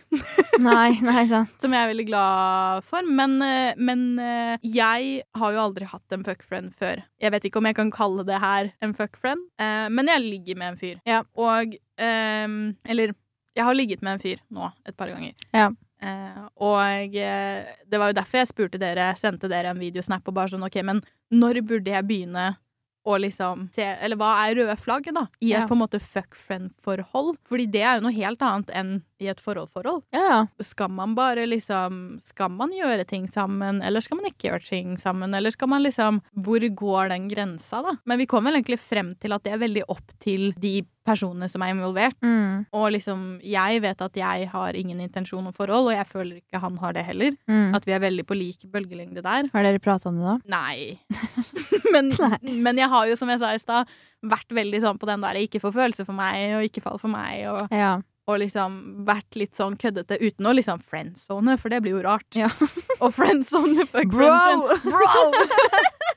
Nei, nei, sant.
Som jeg er veldig glad for. Men, eh, men eh, jeg har jo aldri hatt en fuckfriend før. Jeg vet ikke om jeg kan kalle det her en fuckfriend, eh, men jeg ligger med en fyr.
Ja.
Og ehm, Eller jeg har ligget med en fyr nå et par ganger.
Ja.
Eh, og eh, det var jo derfor jeg spurte dere, sendte dere en videosnap og bare sånn OK, men når burde jeg begynne å liksom se Eller hva er røde flagget, da? I et
Ja.
på en måte fuck-friend-forhold. Fordi det er jo noe helt annet enn i et forhold-forhold.
Ja, ja.
Skal man bare liksom Skal man gjøre ting sammen, eller skal man ikke gjøre ting sammen? Eller skal man liksom Hvor går den grensa, da? Men vi kom vel egentlig frem til at det er veldig opp til de personene som er involvert.
Mm.
Og liksom, jeg vet at jeg har ingen intensjon om forhold, og jeg føler ikke han har det heller.
Mm.
At vi er veldig på lik bølgelengde der.
Har dere prata om det, da?
Nei. men, men jeg har jo, som jeg sa i stad, vært veldig sånn på den der ikke få følelser for meg, og ikke fall for meg, og
Ja.
og liksom vært litt sånn køddete uten å liksom friendzone, for det blir jo rart.
Ja.
og friendzone fuck friendzone.
Bro!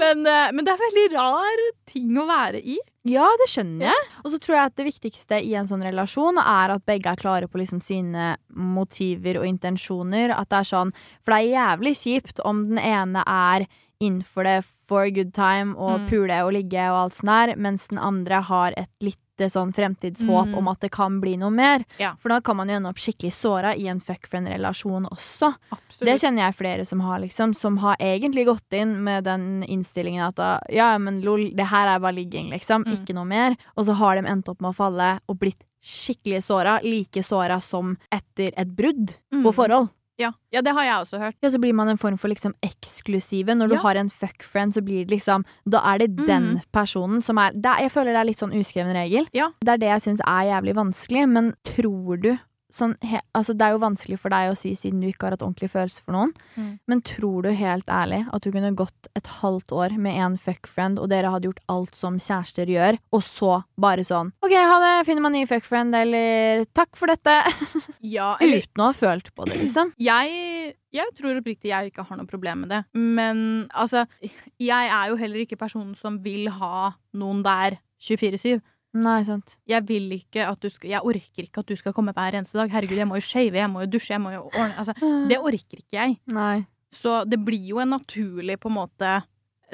Men, eh, men det er veldig rar ting å være i.
Ja, det skjønner jeg. Og så tror jeg at det viktigste i en sånn relasjon er at begge er klare på liksom sine motiver og intensjoner. At det er sånn For det er jævlig kjipt om den ene er innenfor det for a good time og
Mm.
pule og ligge og alt sånn der, mens den andre har et lite sånn fremtidshåp
Mm.
om at det kan bli noe mer.
Ja.
For da kan man jo ende opp skikkelig såra i en fuckfriend-relasjon også. Det
Absolutt.
kjenner jeg flere som har, liksom. Som har egentlig gått inn med den innstillingen at da, ja, ja, men lol, det her er bare ligging, liksom.
Mm.
Ikke noe mer. Og så har de endt opp med å falle og blitt skikkelig såra. Like såra som etter et brudd
Mm.
på forhold.
Ja. ja, det har jeg også hørt.
Ja, så blir man en form for liksom eksklusive. Når du
Ja. Mhm.
har en fuckfriend, så blir det liksom Da er det den personen som er det, er- Jeg føler det er litt sånn uskreven regel.
Ja.
Det er det jeg syns er jævlig vanskelig, men tror du sånn, he, altså Det er jo vanskelig for deg å si siden du ikke har hatt ordentlig følelse for noen,
Mm.
men tror du helt ærlig at du kunne gått et halvt år med en fuckfriend, og dere hadde gjort alt som kjærester gjør, og så bare sånn OK, ha det, finner meg en ny fuckfriend, eller takk for dette,
Ja, eller
uten å ha følt på det, liksom?
jeg, jeg tror oppriktig jeg ikke har noe problem med det. Men altså, jeg er jo heller ikke personen som vil ha noen der 24-7.
Nei, sant.
Jeg vil ikke at du skal Jeg orker ikke at du skal komme hver eneste dag. Herregud, jeg må jo shave, jeg må jo dusje, jeg må jo ordne Altså, det orker ikke jeg.
Nei.
Så det blir jo en naturlig på en måte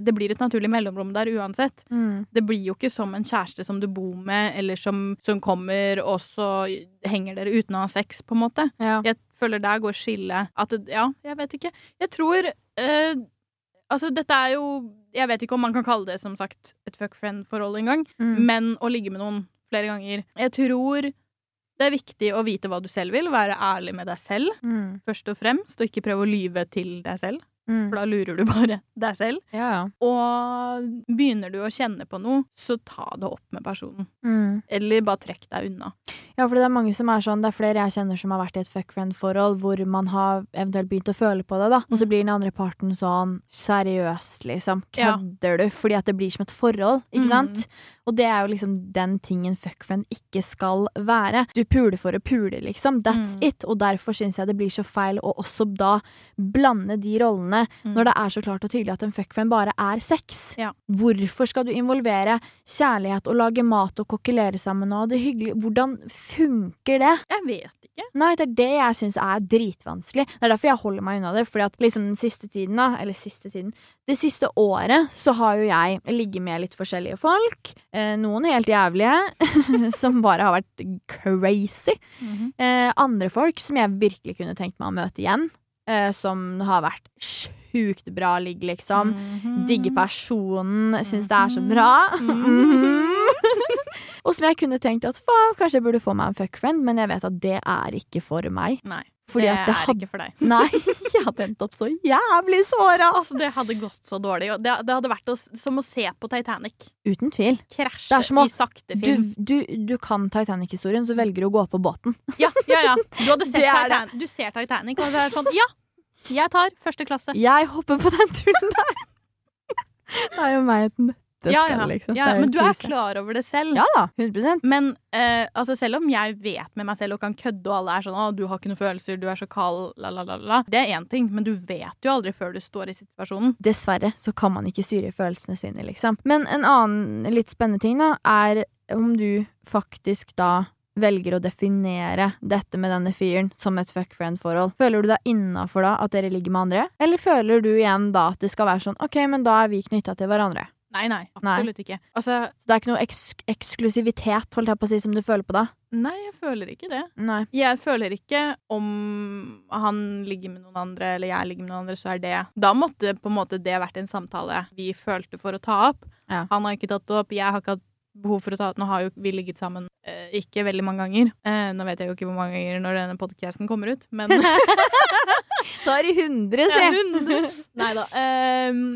Det blir et naturlig mellomrom der uansett.
Mm.
Det blir jo ikke som en kjæreste som du bor med, eller som, som kommer, og så henger dere uten å ha sex, på en måte.
Ja.
Jeg føler der går skillet at det, Ja, jeg vet ikke. Jeg tror eh, Altså, dette er jo Jeg vet ikke om man kan kalle det, som sagt, et fuck friend-forhold engang,
Mm.
men å ligge med noen flere ganger Jeg tror det er viktig å vite hva du selv vil, være ærlig med deg selv,
Mm.
først og fremst, og ikke prøve å lyve til deg selv. For
Mm.
da lurer du bare deg selv.
Ja, ja.
Og begynner du å kjenne på noe, så ta det opp med personen.
Mm.
Eller bare trekk deg unna.
Ja, for det er mange som er sånn, det er flere jeg kjenner som har vært i et fuckfriend-forhold hvor man har eventuelt begynt å føle på det, da.
Mm.
Og så blir den andre parten sånn seriøst, liksom.
Ja.
Kødder du? Fordi at det blir som et forhold, ikke
Mm.
sant? Og det er jo liksom den tingen fuckfriend ikke skal være. Du puler for å pule, liksom. That's
Mm.
it. Og derfor syns jeg det blir så feil å også da blande de rollene
Mm.
når det er så klart og tydelig at en fuckfriend bare er sex.
Ja.
Hvorfor skal du involvere kjærlighet og lage mat og kokkelere sammen og ha det hyggelig? Hvordan funker det?
Jeg vet ikke.
Nei, det er det jeg syns er dritvanskelig. Det er derfor jeg holder meg unna det. Fordi at liksom den siste tiden, da, eller siste tiden Det siste året så har jo jeg ligget med litt forskjellige folk. Eh, noen helt jævlige, som bare har vært crazy.
Mhm.
Eh, andre folk som jeg virkelig kunne tenkt meg å møte igjen. Eh, som har vært sjukt bra ligg, liksom.
Mhm.
Digger personen, syns det er så bra. Mm. Og som jeg kunne tenkt at faen, kanskje jeg burde få meg en fuckfriend, men jeg vet at det er ikke for meg.
Nei.
Fordi
det
at det
er
hadde
ikke for deg.
Nei, jeg hadde endt opp så jævlig såra!
Altså, det hadde gått så dårlig. og Det, det hadde vært å, s- som å se på Titanic.
Uten tvil. Det
Krasje
er som å-
i sakte
Du,
film.
du, du kan Titanic-historien, så velger du å gå på båten.
Ja, ja, ja. Du hadde sett
Det er det.
Titanic. Du ser Titanic, og det er sånn Ja, Jeg tar første klasse.
Jeg hopper på den turen der. Det er jo meg et nøtteskall,
Ja, ja.
liksom.
ja,
Det er jo
men du er
krise.
klar over det selv.
Ja da, 100
Men eh, altså, selv om jeg vet med meg selv og kan kødde, og alle er sånn 'Å, du har ikke noen følelser, du er så kald', la, la, la, la. Det er én ting, men du vet jo aldri før du står i situasjonen.
Dessverre så kan man ikke styre følelsene sine, liksom. Men en annen litt spennende ting, da, er om du faktisk da velger å definere dette med denne fyren som et fuck friend-forhold. Føler du deg innafor da at dere ligger med andre, eller føler du igjen da at det skal være sånn ok, men da er vi knytta til hverandre?
Nei, nei, absolutt ikke. Altså,
Så det er ikke noe eks eksklusivitet, holdt jeg på å si, som du føler på da?
nei, jeg føler ikke det.
Nei.
Jeg føler ikke om han ligger med noen andre eller jeg ligger med noen andre, så er det Da måtte på en måte det vært en samtale vi følte for å ta opp.
Ja.
Han har ikke tatt det opp, jeg har ikke hatt behov for å ta det opp. Nå har jo vi ligget sammen eh, ikke veldig mange ganger. Eh, nå vet jeg jo ikke hvor mange ganger når denne podcasten kommer ut, men
Da er det hundre,
Ja, hundre. Nei da.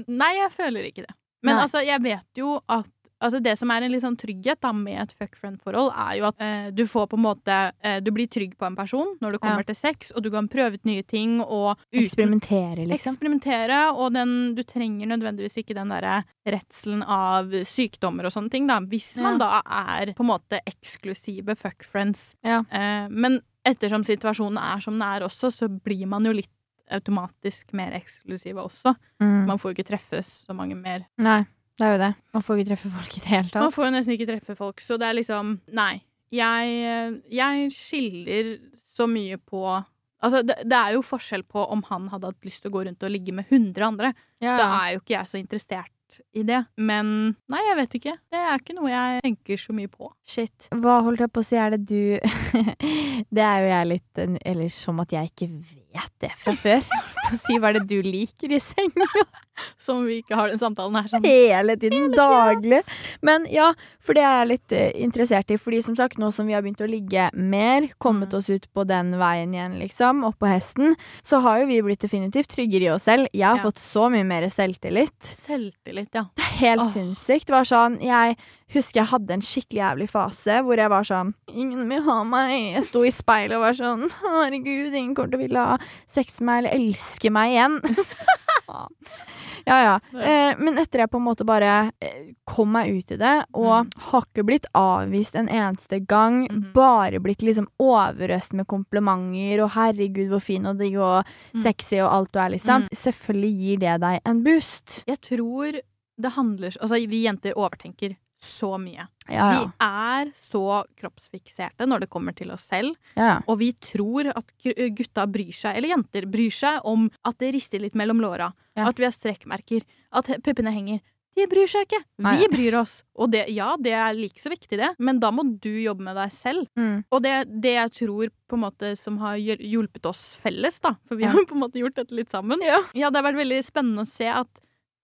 nei, jeg føler ikke det. Men
Nei.
altså, jeg vet jo at Altså Det som er en litt sånn trygghet da med et fuck friend-forhold, er jo at eh, du får på en måte eh, Du blir trygg på en person når det kommer
Ja.
til sex, og du kan prøve ut nye ting og uten-
Eksperimentere, liksom.
eksperimentere. Og den, du trenger nødvendigvis ikke den derre redselen av sykdommer og sånne ting, da. Hvis man da er på en måte eksklusive fuck friends.
Ja.
Eh, men ettersom situasjonen er som den er også, så blir man jo litt automatisk mer eksklusive også.
Mm.
Man får jo ikke treffes så mange mer.
Nei, det er jo det. Man får ikke treffe folk i det hele
Man
tatt.
får jo nesten ikke treffe folk, så det er liksom Nei. Jeg, eh, jeg skiller så mye på Altså, det, det er jo forskjell på om han hadde hatt lyst til å gå rundt og ligge med 100 andre.
Ja,
Da
ja.
er jo ikke jeg så interessert i det. Men nei, jeg vet ikke. Det er ikke noe jeg tenker så mye på.
Shit. Hva holdt jeg på å si, er det du Det er jo jeg litt en- Eller som at jeg ikke vet det fra før. Holdt på å Si hva er det du liker i senga?
Som vi ikke har den samtalen her. Sånn.
Hele tiden. Daglig. Men ja, for det er jeg litt eh, interessert i. Fordi som sagt, nå som vi har begynt å ligge mer, kommet
Mm.
oss ut på den veien igjen, liksom, opp på hesten, så har jo vi blitt definitivt tryggere i oss selv. Jeg har
Ja.
fått så mye mer selvtillit.
Selvtillit, ja.
Det er helt
Åh.
sinnssykt. Det var sånn, jeg husker jeg hadde en skikkelig jævlig fase hvor jeg var sånn Ingen vil ha meg. Jeg sto i speilet og var sånn Herregud, ingen kommer til å ville ha sex med meg eller elske meg igjen. Faen. ja, ja. Eh, men etter jeg på en måte bare eh, kom meg ut i det, og
Mm.
har ikke blitt avvist en eneste gang,
Mhm.
bare blitt liksom overøst med komplimenter og 'herregud, hvor fin og digg og
Mm.
sexy' og alt du er, liksom, selvfølgelig gir det deg en boost.
Jeg tror det handler Altså, vi jenter overtenker så mye.
Ja, ja.
Vi er så kroppsfikserte når det kommer til oss selv,
ja, ja.
og vi tror at gr- eh, gutta bryr seg, eller jenter bryr seg, om at det rister litt mellom låra,
Ja.
at vi har strekkmerker, at he- puppene henger. De bryr seg ikke.
Nei.
Vi bryr oss. Og det, ja, det er like så viktig, det, men da må du jobbe med deg selv.
Mm.
Og det, det jeg tror på en måte som har hjel- hjulpet oss felles, da, for vi
Ja.
har jo på en måte gjort dette litt sammen, ja. det har vært veldig spennende å se at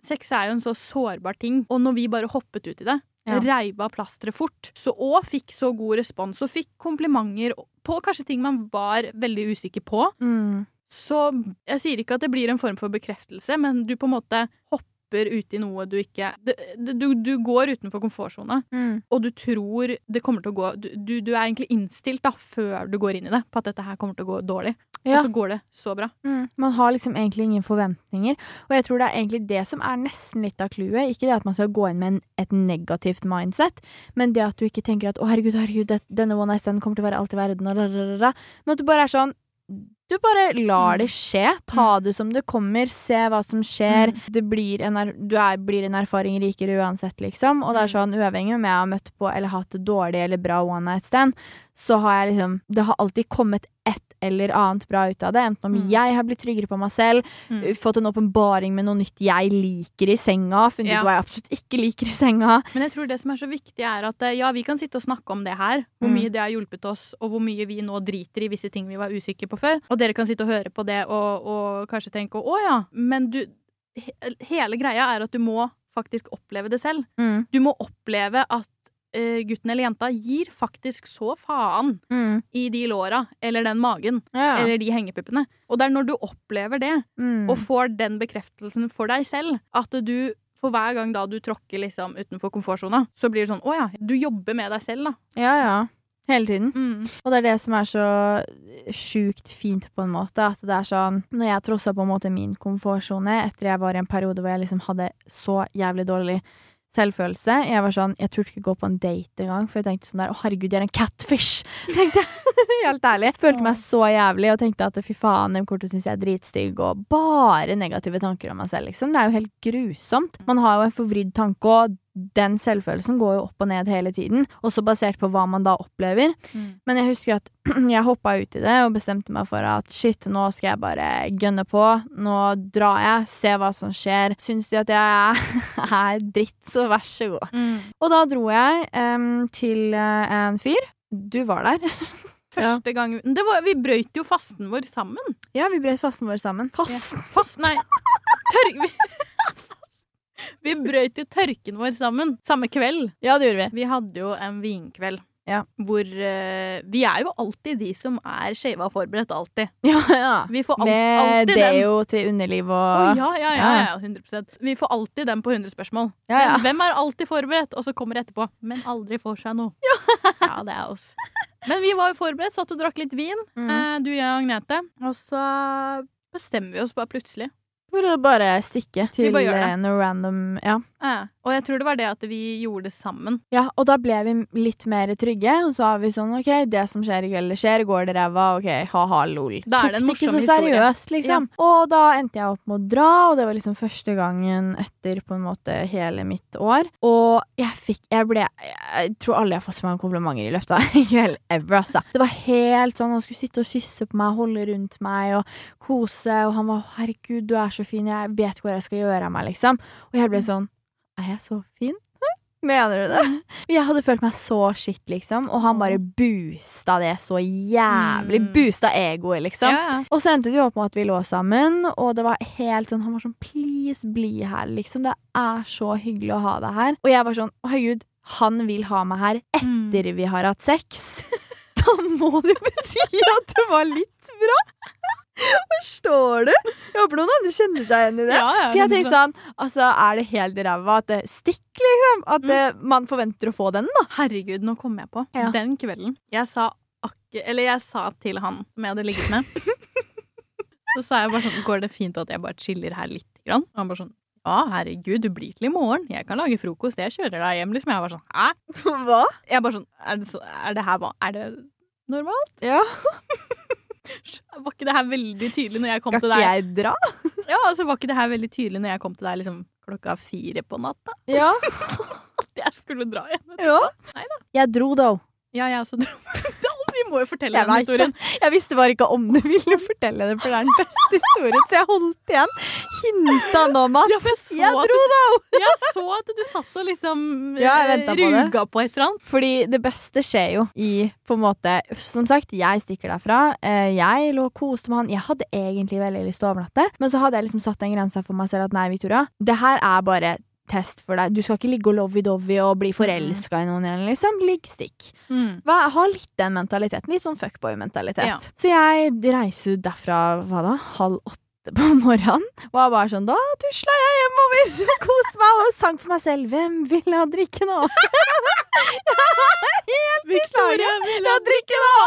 sex er jo en så sårbar ting, og når vi bare hoppet ut i det,
Ja.
reiv av plasteret fort, så og fikk så god respons, og fikk komplimenter på kanskje ting man var veldig usikker på,
Mm.
så jeg sier ikke at det blir en form for bekreftelse, men du på en måte hopper ut i noe du ikke det- det- Du, du går utenfor komfortsona
Mm.
og du tror det kommer til å gå du, du, du er egentlig innstilt da, før du går inn i det, på at dette her kommer til å gå dårlig.
Ja.
Og så går det så bra.
Mm. Man har liksom egentlig ingen forventninger, og jeg tror det er egentlig det som er nesten litt av clouet. Ikke det at man skal gå inn med en, et negativt mindset, men det at du ikke tenker at 'å, herregud, herregud, det, denne one night stand kommer til å være alt i verden', og rararara. men at du bare er sånn du bare lar det skje. Ta det som det kommer. Se hva som skjer. Det blir en, er, du er, blir en erfaring rikere uansett, liksom. Og det er sånn, uavhengig om jeg har møtt på eller hatt det dårlig eller bra one night stand, så har jeg liksom Det har alltid kommet et eller annet bra ut av det. Enten om
Mm.
jeg har blitt tryggere på meg selv, eh,
Mm.
fått en åpenbaring med noe nytt jeg liker i senga, funnet
Ja.
ut hva jeg absolutt ikke liker i senga.
Men jeg tror det som er så viktig, er at eh, ja, vi kan sitte og snakke om det her, hvor
Mm.
mye det har hjulpet oss, og hvor mye vi nå driter i visse ting vi var usikre på før. Og dere kan sitte og høre på det og, og kanskje tenke å ja, men du he Hele greia er at du må faktisk oppleve det selv.
Mm.
Du må oppleve at eh, gutten eller jenta gir faktisk så faen
Mm.
i de låra eller den magen.
Ja.
eller de hengepuppene. Og det er når du opplever det,
mm.
og får den bekreftelsen for deg selv, at du for hver gang da du tråkker liksom utenfor komfortsona, så blir det sånn Å ja, du jobber med deg selv, da.
ja, ja. Hele tiden.
Mm.
Og det er det som er så sjukt fint, på en måte. At det er sånn Når jeg trossa på en måte min komfortsone etter jeg var i en periode hvor jeg liksom hadde så jævlig dårlig selvfølelse Jeg var sånn Jeg turte ikke gå på en date engang, for jeg tenkte sånn der Å, herregud, jeg er en catfish! Tenkte jeg. Helt ærlig. Følte meg så jævlig og tenkte at fy faen, dem kommer til å synes jeg er dritstygg, og bare negative tanker om meg selv, liksom. Det er jo helt grusomt. Man har jo en forvridd tanke, og den selvfølelsen går jo opp og ned hele tiden. Også basert på hva man da opplever.
Mm.
Men jeg husker at jeg hoppa ut i det og bestemte meg for at shit, nå skal jeg bare gønne på. Nå drar jeg, ser hva som skjer. Syns de at jeg er dritt, så vær så god.
Mm.
Og da dro jeg em, til eh, en fyr. Du var der.
Første gang det var, Vi brøyt jo fasten vår sammen.
Ja, vi brøt fasten vår sammen.
Ja. Fast, nei. Tør, vi, vi brøyt jo tørken vår sammen samme kveld.
Ja, det gjorde vi.
Vi hadde jo en vinkveld.
Ja.
Hvor eh, Vi er jo alltid de som er skeiva og forberedt, alltid.
Ja, ja.
Vi får alt,
Med
alltid den.
deo til underliv
Å,
og
ja, ja, ja, ja, 100 Vi får alltid den på 100 spørsmål.
Ja, ja.
Men Hvem er alltid forberedt, og så kommer det etterpå. Men aldri får seg noe. Ja, det er oss. Men vi var jo forberedt, satt og drakk litt vin,
Mm.
eh, du, jeg og Agnete. Og så bestemmer vi oss bare plutselig.
For å bare stikke til
bare gjør det.
eh, noe random Ja.
Eh, og jeg tror det var det at vi gjorde det sammen.
Ja, og da ble vi litt mer trygge, og så har vi sånn OK, det som skjer i kveld, det skjer. Går det ræva? OK, ha-ha, lol.
Da er det en
Tok ikke
morsom
så
historie.
seriøst, liksom. Og da endte jeg opp med å dra, og det var liksom første gangen etter på en måte hele mitt år. Og jeg fikk Jeg ble Jeg tror aldri jeg har fått så mange komplimenter i løpet av en kveld ever, altså. Det var helt sånn, han skulle sitte og kysse på meg, holde rundt meg og kose, og han var 'herregud, du er så fin, jeg vet ikke hva jeg skal gjøre av meg', liksom. Og jeg ble sånn 'er jeg så fin'? Mener du det? Jeg hadde følt meg så shit, liksom. Og han bare boosta det så jævlig.
Mm.
Boosta egoet, liksom.
Ja, ja.
Og så endte det jo opp med at vi lå sammen, og det var helt sånn Han var sånn Please, bli her, liksom. Det er så hyggelig å ha deg her. Og jeg var sånn Å, herregud, han vil ha meg her
Mm.
etter vi har hatt sex. Da må det jo bety at det var litt bra! Forstår du? Jeg håper noen andre kjenner seg igjen i det.
Ja, ja,
For jeg tenker sånn, altså Er det helt ræva at det stikker, liksom? At eh, man forventer å få den, da?
Herregud, nå kom jeg på.
Ja.
Den kvelden jeg sa akke, Eller jeg sa til han som jeg hadde ligget med Så sa jeg bare sånn Går det fint at jeg bare chiller her litt? Grann? Og han bare sånn Ja, herregud, du blir til i morgen. Jeg kan lage frokost. Jeg kjører deg hjem, liksom. Jeg var sånn Hæ?
Hva?
Jeg bare sånn Er det, så, er det her hva? Er det normalt?
Ja.
Var ikke det her veldig tydelig når jeg kom
Skal
til
ikke
deg?
jeg dra?
Ja, altså var ikke det her veldig tydelig når jeg kom til deg liksom klokka fire på natta?
Ja.
At jeg skulle dra hjem?
ja.
Nei
Jeg dro, da.
Ja, jeg også dro. Vi må jo fortelle
Jeg
den
vet
historien.
Jeg visste bare ikke om du ville fortelle det, for det er den beste historien. Så jeg holdt igjen. Hinta nå, Mats.
Ja, for jeg så
Jeg
at
dro, da!
Jeg så at du satt og liksom
Ja, jeg ventet på det.
ruga på et eller annet.
sånn. Fordi det beste skjer jo i på en måte Som sagt, jeg stikker derfra. Eh, Jeg lå og koste med han. Jeg hadde egentlig veldig lyst til å overnatte, men så hadde jeg liksom satt en grense for meg selv at nei, Victoria, det her er bare test for deg. Du skal ikke ligge og lovey-dovey og bli forelska i noen igjen, liksom. Ligg stikk. Hva, jeg har litt den mentaliteten. Litt sånn fuckboy-mentalitet.
Ja.
Så jeg reiser ut derfra hva da, halv åtte på morgenen. Og jeg bare sånn Da tusla jeg hjemover og koste meg og sang for meg selv. Hvem vil ha drikke nå? Helt Victoria vil ha drikke nå!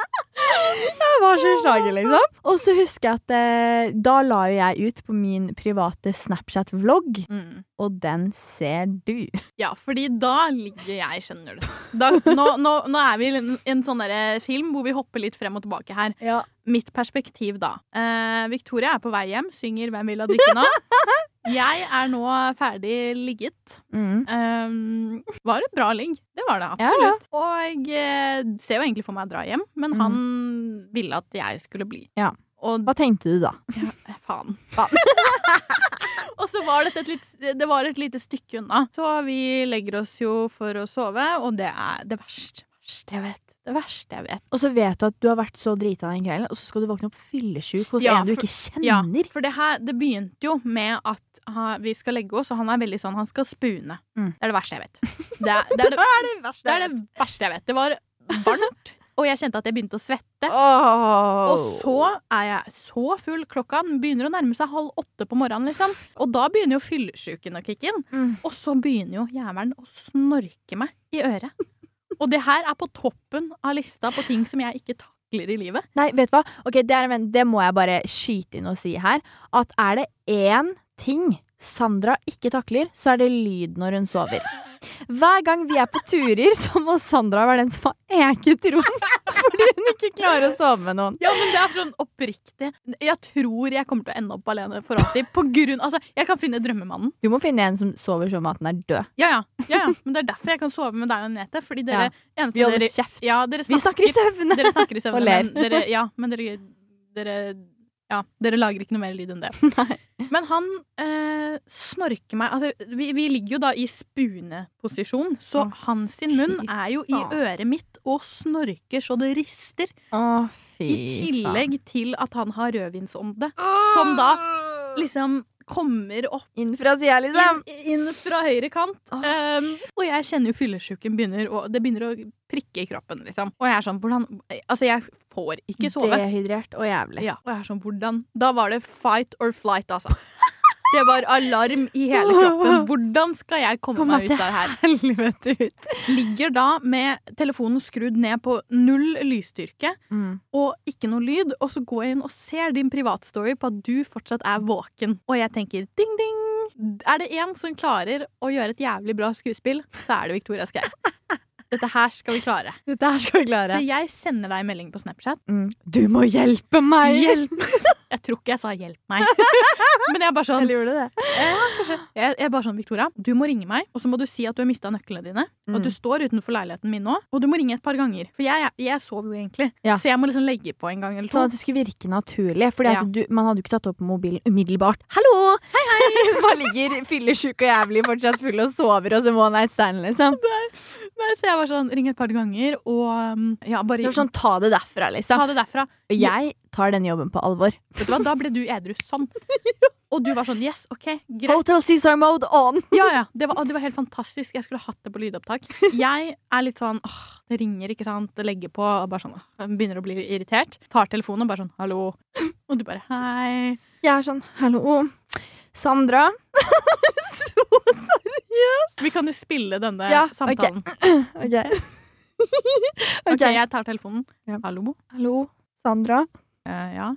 jeg var så i slaget, liksom. Og så husker jeg at eh, da la jo jeg ut på min private Snapchat-vlogg,
Mm.
og den ser du.
Ja, fordi da ligger jeg, skjønner du. Da, nå, nå, nå er vi i en, en sånn derre film hvor vi hopper litt frem og tilbake her.
Ja.
Mitt perspektiv da. Eh, Victoria er på vei hjem, synger 'Hvem vil ha drikke nå?' Jeg er nå ferdig ligget.
Mm.
Um, var et bra ligg. Det var det
Ja,
absolutt. Og jeg eh, ser jo egentlig for meg å dra hjem, men
Mhm.
han ville at jeg skulle bli.
Ja.
Og
Hva tenkte du da?
Eh, Faen. og så var dette et, litt, det var et lite stykke unna. Så vi legger oss jo for å sove, og det er det verste, verste jeg vet. Det verste jeg vet.
Og så vet du at du har vært så drita den kvelden, og så skal du våkne opp fyllesjuk hos
Ja,
en du
for-
ikke
Ja,
kjenner.
for det her det begynte jo med at ha, vi skal legge oss, og han er veldig sånn Han skal spune.
Mm.
Det er det verste jeg vet. Det er det, er det,
det
det, er det verste jeg vet. Det var varmt, og jeg kjente at jeg begynte å svette.
Oh.
Og så er jeg så full. Klokka begynner å nærme seg halv åtte på morgenen. liksom Og da begynner jo fyllesyken å kicke inn.
Mm.
Og så begynner jo jævelen å snorke meg i øret. Og det her er på toppen av lista på ting som jeg ikke takler i livet.
Nei, vet du hva? Ok, det, er, en venn- det må jeg bare skyte inn og si her. At er det én ting Sandra ikke takler, så er det lyd når hun sover. Hver gang vi er på turer, så må Sandra være den som har eget rom. Fordi hun ikke klarer å sove med noen.
Ja, men det er sånn oppriktig. Jeg tror jeg kommer til å ende opp alene for alltid. På grunn, altså, jeg kan finne drømmemannen.
Du må finne en som sover som at den er død.
Ja, ja. ja, ja. Men det er derfor jeg kan sove med deg og Anette. Fordi dere, eneste
Vi holder
dere,
kjeft.
ja, dere
Vi snakker i søvne!
Dere snakker i
Og
søvne,
ler.
men dere, ja, men dere, dere ja, dere lager ikke noe mer lyd enn det. Men han eh, snorker meg Altså, vi, vi ligger jo da i spuneposisjon, så
Å,
hans sin munn
fy
er jo i
faen.
øret mitt og snorker så det rister.
Å, fy
I tillegg til at han har rødvinsånde, som da
Ah!
liksom kommer opp
Inn fra sida, liksom.
inn, inn fra høyre kant.
Åh.
Um, og jeg kjenner jo fyllesyken begynner, og det begynner å prikke i kroppen, liksom. Og jeg er sånn, hvordan Altså, jeg får ikke sove.
Dehydrert og jævlig.
Ja, og jeg er sånn, hvordan Da var det fight or flight, altså. Det var alarm i hele kroppen. Hvordan skal jeg komme
Kom
meg
deg
ut av det her?
Helvete ut.
Ligger da med telefonen skrudd ned på null lysstyrke
Mm.
og ikke noe lyd, og så går jeg inn og ser din privatstory på at du fortsatt er våken. Og jeg tenker ding, ding. Er det én som klarer å gjøre et jævlig bra skuespill, så er det Victoria Skau. Dette her skal vi klare.
Dette her skal vi
Så
klare. Mm.
jeg sender deg en melding på Snapchat.
Du må hjelpe meg!
Hjelp! Jeg tror ikke jeg sa 'hjelp meg'. Men jeg er bare sånn,
Eller gjorde du det?
jeg jeg er bare sånn Victoria, du må ringe meg, og så må du si at du har mista nøklene dine. Og at
Mm.
du står utenfor leiligheten min nå, og du må ringe et par ganger. For jeg, jeg, jeg sover jo egentlig,
Ja.
så jeg må liksom legge på en gang eller to.
Sånn at det skulle virke naturlig. Fordi at
Ja.
du, Man hadde jo ikke tatt opp mobilen umiddelbart. 'Hallo! Hei, hei!' Man ligger fyllesyk og jævlig fortsatt full og sover, og så må han stand, liksom.
Nei, så jeg var sånn, ring et par ganger, og um, ja, bare
Det var sånn, Ta det derfra, liksom.
ta det derfra.
Og jeg tar den jobben på alvor.
Vet du hva, da ble du edru sånn. Og du var sånn, yes, ok, greit.
Hotel Cæsar mode on!
Ja, ja, det var, å, det var helt fantastisk. Jeg skulle hatt det på lydopptak. Jeg er litt sånn, åh, det ringer, ikke sant, det legger på, og bare sånn, åh, jeg begynner å bli irritert. Tar telefonen og bare sånn, hallo. Og du bare, hei.
Jeg er sånn 'Hallo, Sandra'. så
Vi kan jo spille denne
Ja, ok.
samtalen.
OK.
Ok,
OK.
jeg tar telefonen.
Ja.
Hallo?
Hallo, Sandra.
Eh, ja.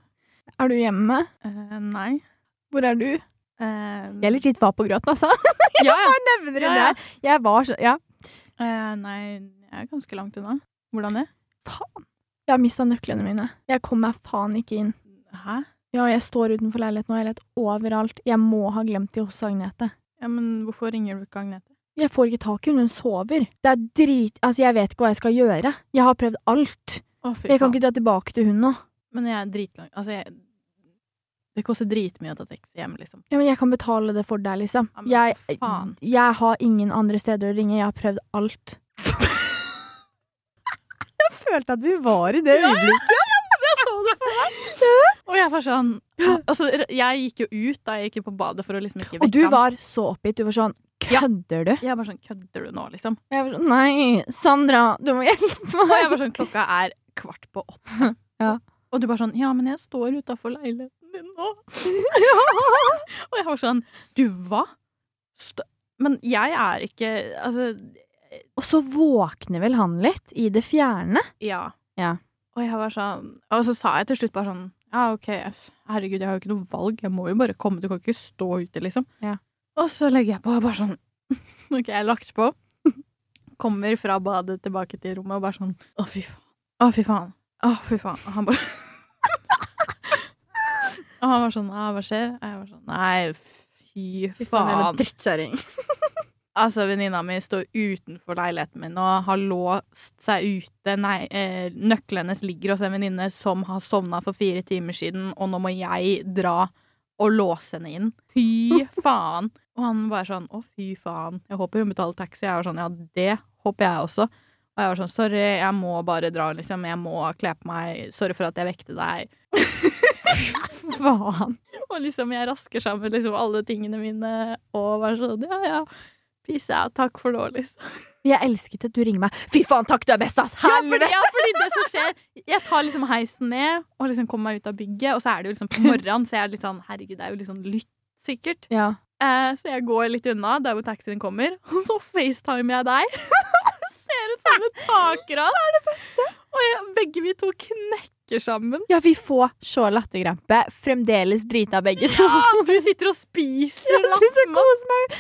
Er du hjemme?
Eh, nei.
Hvor er du?
Eh,
Jeg er litt litt var på gråten, altså.
ja, ja.
Nevner hun
Ja, ja.
det? Jeg var så Ja.
Eh, nei, jeg er ganske langt unna. Hvordan det?
Faen. Jeg har mista nøklene mine. Jeg kom meg faen ikke inn.
Hæ?
Ja, jeg står utenfor leiligheten og jeg leter overalt. Jeg må ha glemt de hos Agnete.
Ja, men hvorfor ringer du ikke Agnete?
Jeg får ikke tak i henne, hun sover. Det er drit... Altså, jeg vet ikke hva jeg skal gjøre. Jeg har prøvd alt.
Å, fy
Jeg kan
faen.
ikke dra tilbake til hun nå.
Men jeg er dritlang. Altså, jeg Det koster dritmye å ta taxi hjem, liksom.
Ja, men jeg kan betale det for deg, liksom.
Ja, men
Jeg,
faen.
jeg har ingen andre steder å ringe. Jeg har prøvd alt. jeg følte at vi var i det øyeblikket.
Jeg så det for meg! Og jeg var sånn Altså, jeg gikk jo ut da jeg gikk på badet for å liksom ikke vekke
Og du
ham.
var så oppgitt. Du var sånn
Ja.
Kødder du?
Jeg er bare sånn Kødder du nå, liksom?
Jeg var sånn Nei, Sandra, du må hjelpe
Og
meg.
jeg var sånn Klokka er kvart på åtte.
Ja.
Og du bare sånn Ja, men jeg står utafor leiligheten din nå. Og jeg var sånn Du, hva? St men jeg er ikke Altså,
Og så våkner vel han litt i det fjerne.
Ja.
Ja.
Og jeg var sånn Og så sa jeg til slutt bare sånn Ja, OK, f- herregud, jeg har jo ikke noe valg. Jeg må jo bare komme. Du kan ikke stå ute, liksom.
Ja.
Og så legger jeg på bare sånn OK, jeg har lagt på. Kommer fra badet tilbake til rommet og bare sånn Å, fy faen. Å, fy faen. Å, fy faen. Og han bare Og han var sånn Ja, hva skjer? Og jeg var sånn Nei, fy faen.
Drittkjerring.
Altså, venninna mi står utenfor leiligheten min og har låst seg ute. Nei, eh, nøkkelen hennes ligger hos en venninne som har sovna for fire timer siden, og nå må jeg dra og låse henne inn. Fy faen! Og han bare sånn Å, fy faen. Jeg håper hun betaler taxi. Jeg var sånn Ja, det håper jeg også. Og jeg var sånn Sorry, jeg må bare dra, liksom. Jeg må kle på meg. Sorry for at jeg vekte deg.
Faen.
Og liksom jeg rasker sammen liksom alle tingene mine og bare sånn Ja, ja. Peace out. Takk for nå, liksom.
Jeg elsket at du ringer meg. Fy faen, takk, du er best, ass!
Ja fordi,
Helvete!
ja, fordi det som skjer Jeg tar liksom heisen ned og liksom kommer meg ut av bygget, og så er det jo liksom på morgenen, så jeg er litt sånn Herregud, det er jo litt sånn lytt, sikkert.
Ja.
Eh, så jeg går litt unna der hvor taxien kommer, og så facetimer jeg deg. Ser ut Samme takras. Det er det beste. Og jeg, begge vi to knekker sammen.
Ja, vi får så latterkrampe. Fremdeles drita begge to.
Ja, du sitter og spiser
Jeg synes jeg
lattermat.
koser meg.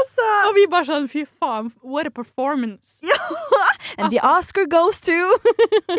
Altså.
Og vi bare sånn fy faen, what a performance.
And the Oscar goes to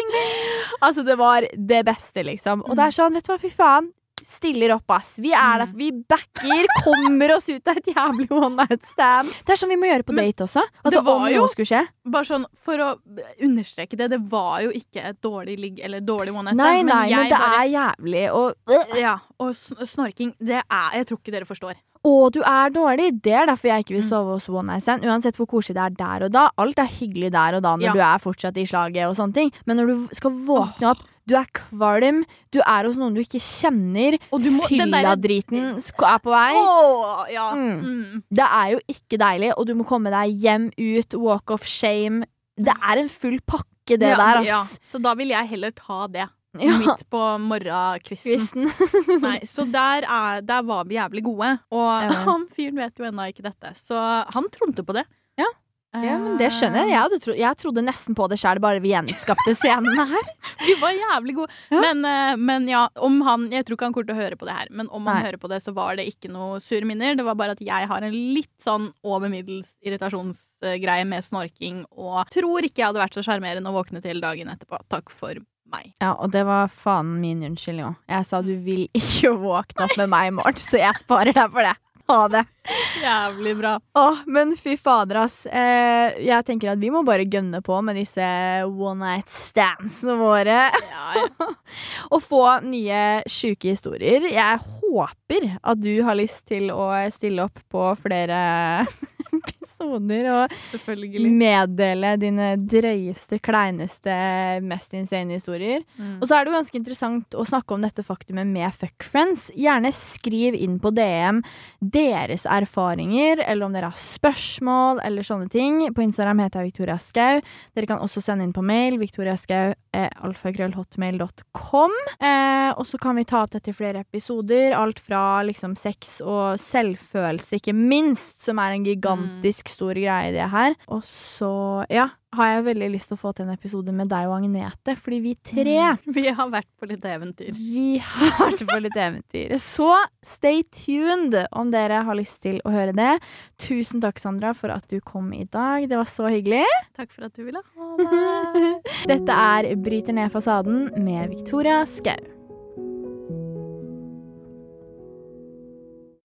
Altså, det var det beste, liksom. Og det er sånn, vet du hva, fy faen. Stiller opp, ass. Vi er der, vi backer, kommer oss ut av et jævlig one night stand. Det er sånn vi må gjøre på
Men
date også. Altså,
det var
om
jo-
noe skulle skje.
Bare sånn for å understreke det, det var jo ikke et dårlig ligg eller dårlig one night
Nei,
stand,
nei, men
jeg
det
bare
er jævlig, og
ja, Og sn- snorking, det er Jeg tror ikke dere forstår.
Og du er dårlig. Det er derfor jeg ikke vil
Mm.
sove hos One Night Stand. Uansett hvor koselig det er der og da. Alt er hyggelig der og da når
Ja.
du er fortsatt i slaget og sånne ting. Men når du skal våkne opp, du er kvalm, du er hos noen du ikke kjenner,
Og du må- den derre-
fylladriten sk- er på vei.
Åh, ja.
Mm.
Mm.
Det er jo ikke deilig, og du må komme deg hjem ut. Walk of shame. Det er en full pakke, det
Ja,
der,
ja.
ass.
Så da vil jeg heller ta det.
Ja.
Midt på morgenkvisten.
Kvisten.
Nei, så der, er, der var vi jævlig gode. Og han fyren vet jo ennå ikke dette, så han trodde på det.
Ja. Ja, men det skjønner jeg. Jeg, hadde tro jeg trodde nesten på det sjøl, bare vi gjenskapte scenen her.
Vi var jævlig gode. Men, eh, men ja, om han Jeg tror ikke han kommer til å høre på det her, men om han
Nei.
hører på det, så var det ikke noe sure minner. Det var bare at jeg har en litt sånn over middels irritasjonsgreie med snorking, og tror ikke jeg hadde vært så sjarmerende å våkne til dagen etterpå. Takk for meg.
Ja, og det var faen min unnskyldning òg. Jeg sa du vil ikke våkne opp med meg i morgen, så jeg sparer deg for det. Ha det.
Jævlig bra.
Åh, men fy fader, ass. Eh, jeg tenker at vi må bare gønne på med disse one night standsene våre.
Ja, ja.
Og få nye sjuke historier. Jeg håper at du har lyst til å stille opp på flere episoder og
selvfølgelig.
meddele dine drøyeste, kleineste, mest insane historier.
Mm.
Og så er det jo ganske interessant å snakke om dette faktumet med fuckfriends. Gjerne skriv inn på DM deres erfaringer, eller om dere har spørsmål eller sånne ting. På Instagram heter jeg Victoria Skau. Dere kan også sende inn på mail victoriaskau.alfakrøllhotmail.com. Eh, og så kan vi ta opp dette i flere episoder. Alt fra liksom sex og selvfølelse, ikke minst, som er en gigantisk stor greie i det her. Og så, ja, har jeg veldig lyst til å få til en episode med deg og Agnete, fordi vi tre
Mm. Vi har vært på litt eventyr.
vi har vært på litt eventyr. Så stay tuned om dere har lyst til å høre det. Tusen takk, Sandra, for at du kom i dag. Det var så hyggelig.
Takk for at du ville ha meg.
Dette er Bryter ned fasaden med Victoria Skau.